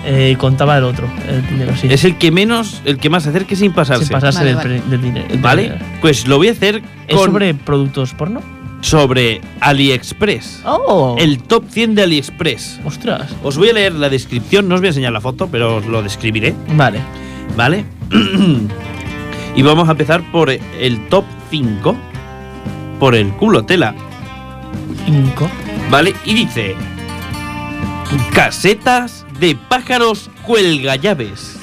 Speaker 1: eh, contaba el otro, el primero, sí.
Speaker 2: Es el que menos, el que más se acerque sin pasarse.
Speaker 1: Sin pasarse
Speaker 3: Vale,
Speaker 1: del,
Speaker 3: vale.
Speaker 1: pre- del dinero. del
Speaker 2: ¿Vale?
Speaker 1: dinero.
Speaker 2: Pues lo voy a hacer
Speaker 1: ¿Es
Speaker 2: con-
Speaker 1: sobre productos porno?
Speaker 2: sobre AliExpress.
Speaker 1: ¡Oh!
Speaker 2: El top 100 de AliExpress.
Speaker 1: ¡Ostras!
Speaker 2: Os voy a leer la descripción, no os voy a enseñar la foto, pero os lo describiré,
Speaker 1: Vale.
Speaker 2: ¿vale? y vamos a empezar por el top 5, por el culo tela,
Speaker 1: 5.
Speaker 2: ¿vale? Y dice, casetas de pájaros cuelga llaves.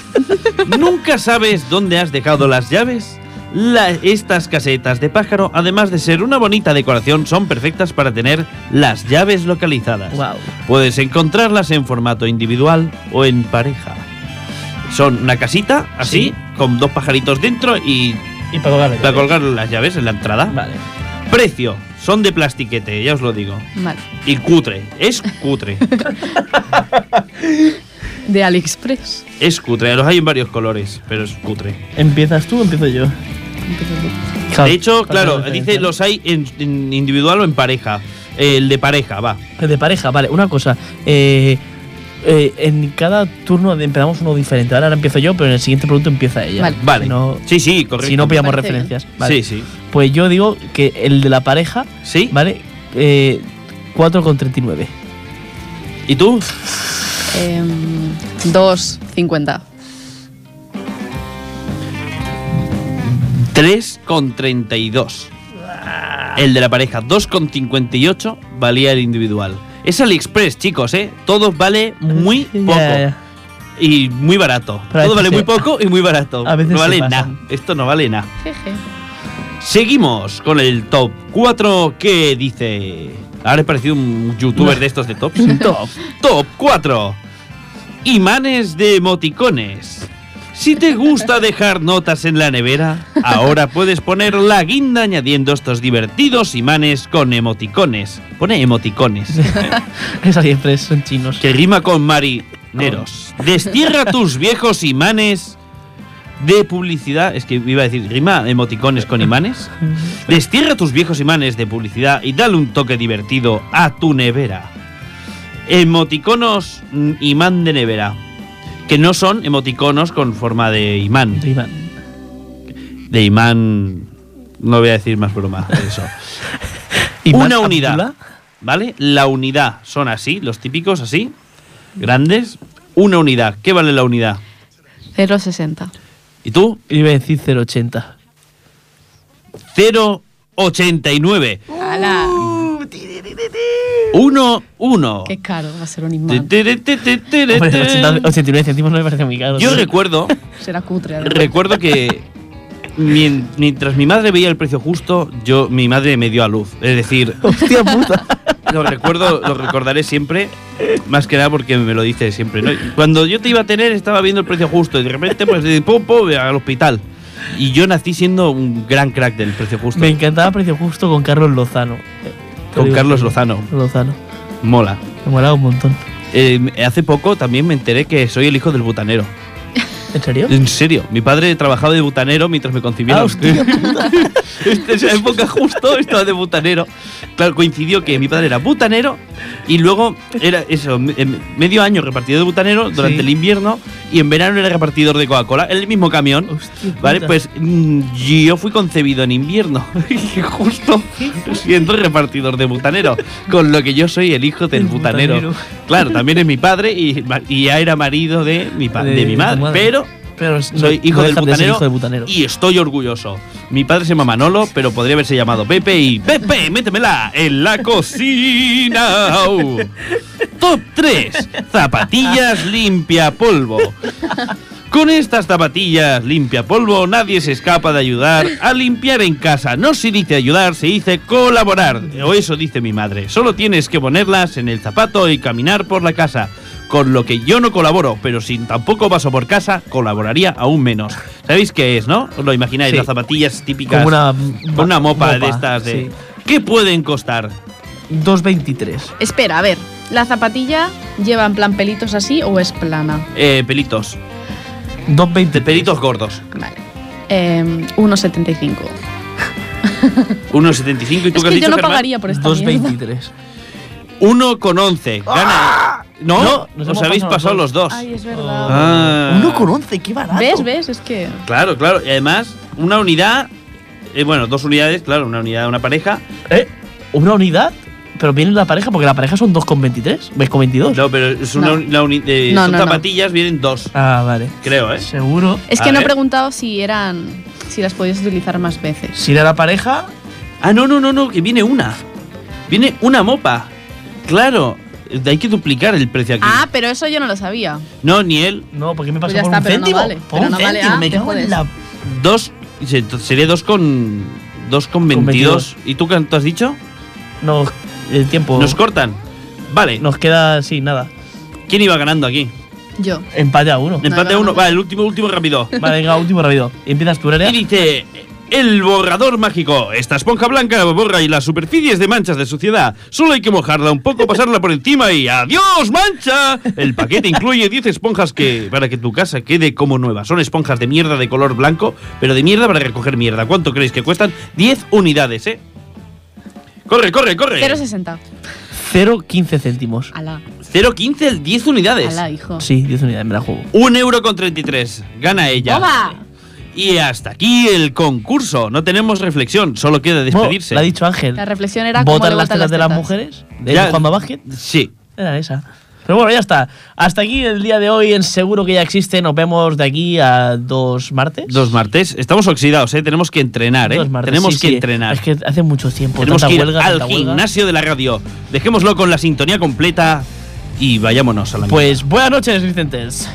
Speaker 2: ¿Nunca sabes dónde has dejado las llaves? La- estas casetas de pájaro, además de ser una bonita decoración, son perfectas para tener las llaves localizadas.
Speaker 1: ¡Wow!
Speaker 2: Puedes encontrarlas en formato individual o en pareja. Son una casita, así,
Speaker 1: Sí.
Speaker 2: con dos pajaritos dentro y
Speaker 1: Y para colgar.
Speaker 2: para colgar las llaves en la entrada.
Speaker 1: Vale.
Speaker 2: Precio, son de plastiquete, ya os lo digo.
Speaker 3: Vale.
Speaker 2: Y cutre, es cutre,
Speaker 3: De AliExpress.
Speaker 2: es cutre. Los hay en varios colores, pero es cutre.
Speaker 1: ¿Empiezas tú o empiezo yo?
Speaker 3: Empiezo tú.
Speaker 1: Claro,
Speaker 2: de hecho,
Speaker 1: para
Speaker 2: claro,
Speaker 1: diferenciar.
Speaker 2: dice los hay en, en individual o en pareja. Eh, El de pareja, va.
Speaker 1: El De pareja, vale. Una cosa. Eh, eh, en cada turno empezamos uno diferente. Ahora empiezo yo, pero en el siguiente producto empieza ella.
Speaker 3: Vale.
Speaker 2: Vale.
Speaker 1: Si no,
Speaker 2: sí, sí, correcto.
Speaker 1: si no pillamos
Speaker 3: Parece bien.
Speaker 1: referencias. Vale.
Speaker 2: Sí, sí.
Speaker 1: Pues yo digo que el de la pareja,
Speaker 2: ¿Sí?
Speaker 1: ¿vale? Eh, 4,39.
Speaker 2: ¿Y tú?
Speaker 3: Em, 2.50.
Speaker 2: 3,32. El de la pareja, 2,58 valía el individual. Es AliExpress, chicos, ¿eh? Todo vale muy
Speaker 1: Ya,
Speaker 2: poco
Speaker 1: ya.
Speaker 2: y muy barato.
Speaker 1: Pero a veces
Speaker 2: Todo vale
Speaker 1: se-
Speaker 2: muy poco y muy barato.
Speaker 1: a veces
Speaker 2: no
Speaker 1: se
Speaker 2: vale nada.
Speaker 1: pasan.
Speaker 2: Esto no vale nada.
Speaker 3: Jeje.
Speaker 2: Seguimos con el top 4 que dice... Ahora he parecido un youtuber de estos de tops. top, top 4. Imanes de emoticones. Si te gusta dejar notas en la nevera, ahora puedes poner la guinda añadiendo estos divertidos imanes con emoticones. Pone emoticones.
Speaker 1: Es AliExpress, son chinos.
Speaker 2: Que rima con marineros. Destierra tus viejos imanes de publicidad. Es que iba a decir, rima emoticones con imanes. Destierra tus viejos imanes de publicidad y dale un toque divertido a tu nevera. Emoticonos mm, imán de nevera. Que no son emoticonos con forma de imán.
Speaker 1: Riman.
Speaker 2: De imán. No voy a decir más broma de eso.
Speaker 1: ¿Y
Speaker 2: Una
Speaker 1: Matt
Speaker 2: unidad.
Speaker 1: Abdullah?
Speaker 2: ¿Vale? La unidad son así, los típicos así, grandes. Una unidad. ¿Qué vale la unidad?
Speaker 3: 0.60.
Speaker 2: ¿Y tú?
Speaker 1: Yo Iba a decir 0,80.
Speaker 2: 0,89. Uh.
Speaker 3: ¡Hala!
Speaker 2: Uno, uno.
Speaker 3: Qué caro va a ser un
Speaker 2: Te,
Speaker 3: imán.
Speaker 2: te, te, te, te, te, te.
Speaker 1: Hombre, 80 89 céntimos no me parece muy caro.
Speaker 2: Yo
Speaker 1: tío.
Speaker 2: recuerdo,
Speaker 3: Será cutre. además.
Speaker 2: recuerdo que mien- mientras mi madre veía el precio justo, yo mi madre me dio a luz. Es decir,
Speaker 1: Hostia puta.
Speaker 2: lo recuerdo, lo recordaré siempre, más que nada porque me lo dice siempre. ¿no? Cuando yo te iba a tener estaba viendo el precio justo y de repente pues de pum, pum, al hospital. Y yo nací siendo un gran crack del precio justo
Speaker 1: Me encantaba Precio Justo con Carlos Lozano. Eh, te
Speaker 2: con
Speaker 1: digo,
Speaker 2: Carlos Lozano.
Speaker 1: Lozano.
Speaker 2: Mola.
Speaker 1: Me molaba un montón.
Speaker 2: Eh, hace poco también me enteré que soy el hijo del butanero.
Speaker 1: ¿En serio?
Speaker 2: En serio, mi padre trabajaba de butanero mientras me
Speaker 1: Ah,
Speaker 2: concibieron.
Speaker 1: hostia
Speaker 2: Esta- esa época justo estaba de butanero. Claro, coincidió que mi padre era butanero y luego era eso, me- em, medio año repartido de butanero durante
Speaker 1: Sí.
Speaker 2: el invierno y en verano era repartidor de Coca-Cola, en el mismo camión.
Speaker 1: Hostia
Speaker 2: Vale,
Speaker 1: puta.
Speaker 2: pues mm, yo fui concebido en invierno, y justo siendo repartidor de butanero, con lo que yo soy el hijo del
Speaker 1: El
Speaker 2: butanero.
Speaker 1: butanero.
Speaker 2: Claro, también es mi padre y, ma- y ya era marido de mi, pa-
Speaker 1: De-
Speaker 2: de
Speaker 1: de
Speaker 2: mi
Speaker 1: tu
Speaker 2: madre,
Speaker 1: madre.
Speaker 2: pero
Speaker 1: Pero es-
Speaker 2: soy
Speaker 1: no-
Speaker 2: hijo,
Speaker 1: no
Speaker 2: del
Speaker 1: dejan de ser
Speaker 2: butanero
Speaker 1: hijo del butanero.
Speaker 2: y estoy orgulloso. Mi padre se llama Manolo, pero podría haberse llamado Pepe y Pepe, métemela en la cocina. Uh. Top 3. Zapatillas limpia polvo. Con estas zapatillas limpia polvo nadie se escapa de ayudar a limpiar en casa. No se dice ayudar, se dice colaborar. O eso dice mi madre. Solo tienes que ponerlas en el zapato y caminar por la casa. Con lo que yo no colaboro, pero si tampoco paso por casa, colaboraría aún menos. ¿Sabéis qué es, no? Os lo imagináis,
Speaker 1: Sí.
Speaker 2: las zapatillas típicas.
Speaker 1: Como una,
Speaker 2: con una mopa, de estas de...
Speaker 1: sí.
Speaker 2: ¿Qué pueden costar?
Speaker 1: 2.23.
Speaker 3: Espera, a ver. ¿La zapatilla lleva en plan pelitos así o es plana?
Speaker 2: Eh, pelitos.
Speaker 1: 2.20
Speaker 2: De pelitos gordos.
Speaker 3: Vale. Em, 1,75.
Speaker 2: 1,75 y tú
Speaker 3: Es
Speaker 2: que has
Speaker 3: que
Speaker 2: dicho,
Speaker 3: yo no
Speaker 2: Germán?
Speaker 3: pagaría por esta mierda.
Speaker 1: 2.23.
Speaker 2: 1,11. Gana. No,
Speaker 1: No, nos
Speaker 2: os
Speaker 1: hemos
Speaker 2: habéis pasado
Speaker 1: pasado los
Speaker 2: los dos.
Speaker 3: Ay, es verdad.
Speaker 2: Ah.
Speaker 1: 1.11, qué barato.
Speaker 3: ¿Ves? ¿Ves? Es que...
Speaker 2: Claro, claro. Y además, una unidad. eh, bueno, dos unidades, claro, una unidad, una pareja.
Speaker 1: ¿Eh? ¿Una unidad? Pero viene la pareja, porque la pareja son 2,23. ¿Ves con 22?
Speaker 2: No, pero es una,
Speaker 3: No.
Speaker 2: uni- la uni- eh,
Speaker 3: No,
Speaker 2: son
Speaker 3: no, no.
Speaker 2: zapatillas, vienen dos,
Speaker 1: Ah, vale.
Speaker 2: creo, ¿eh?
Speaker 1: Seguro.
Speaker 3: Es
Speaker 2: A
Speaker 3: que no
Speaker 2: ver.
Speaker 3: he preguntado si eran... Si las podías utilizar más veces.
Speaker 1: Si era la pareja,
Speaker 2: Ah, no, no, no, no, que viene una. Viene una mopa. Claro, eh, hay que duplicar el precio aquí.
Speaker 3: Ah, pero eso yo no lo sabía.
Speaker 2: No, ni él.
Speaker 1: no, porque me
Speaker 3: Pues
Speaker 1: pasó
Speaker 3: ya
Speaker 1: por
Speaker 3: está,
Speaker 1: un
Speaker 3: pero no
Speaker 1: céntimo.
Speaker 3: vale,
Speaker 1: por
Speaker 3: pero
Speaker 1: un
Speaker 3: no vale.
Speaker 1: céntimo,
Speaker 3: Ah,
Speaker 1: me
Speaker 3: te
Speaker 1: cago en
Speaker 3: jodes.
Speaker 1: la.
Speaker 2: Dos. se- Sería dos con. Dos con
Speaker 1: Con
Speaker 2: 22. ¿Y tú cuánto has dicho?
Speaker 1: No, el tiempo.
Speaker 2: Nos
Speaker 1: Nos,
Speaker 2: cortan. Vale,
Speaker 1: queda, sí, nada.
Speaker 2: ¿quién iba ganando aquí?
Speaker 3: Yo.
Speaker 1: Empate a uno.
Speaker 2: Empate a
Speaker 3: no,
Speaker 2: uno.
Speaker 3: no.
Speaker 2: Vale, el último, último rápido.
Speaker 1: vale, venga, último rápido. Empiezas tú, Nerea.
Speaker 2: Y dice, el borrador mágico. Esta esponja blanca borra y las superficies de manchas de suciedad. Solo hay que mojarla un poco, pasarla por encima y ¡adiós, mancha! El paquete incluye 10 esponjas que para que tu casa quede como nueva. Son esponjas de mierda de color blanco, pero de mierda para recoger mierda. ¿Cuánto creéis que cuestan? 10 unidades, ¿eh? Corre, corre, corre.
Speaker 3: 0,60.
Speaker 1: 0,15 céntimos.
Speaker 3: Alá.
Speaker 2: 0,15, 10 unidades.
Speaker 3: Alá, hijo.
Speaker 1: Sí, 10 unidades, me la juego.
Speaker 2: Un euro con 33. Gana ella.
Speaker 3: ¡Toma!
Speaker 2: Y hasta aquí el concurso. No tenemos reflexión, solo queda despedirse.
Speaker 1: Bueno, la ha dicho Ángel.
Speaker 3: La reflexión era cómo
Speaker 1: ¿Votan
Speaker 3: le
Speaker 1: las
Speaker 3: gustan
Speaker 1: telas
Speaker 3: las
Speaker 1: de las
Speaker 3: tetas.
Speaker 1: mujeres? ¿De
Speaker 2: Ya.
Speaker 1: jugando a básquet?
Speaker 2: Sí.
Speaker 1: Era esa. Pero bueno, ya está. Hasta aquí el día de hoy en Seguro que ya existe. Nos vemos de aquí a dos martes.
Speaker 2: Dos martes. Estamos oxidados, ¿eh? Tenemos que entrenar, ¿eh?
Speaker 1: Dos martes,
Speaker 2: Tenemos
Speaker 1: sí,
Speaker 2: que
Speaker 1: sí.
Speaker 2: entrenar.
Speaker 1: Es que hace mucho tiempo.
Speaker 2: Tenemos
Speaker 1: tanta
Speaker 2: que ir
Speaker 1: huelga,
Speaker 2: al
Speaker 1: tanta huelga.
Speaker 2: gimnasio de la radio. Dejémoslo con la sintonía completa y vayámonos a la
Speaker 1: Pues buenas noches, Vicentes.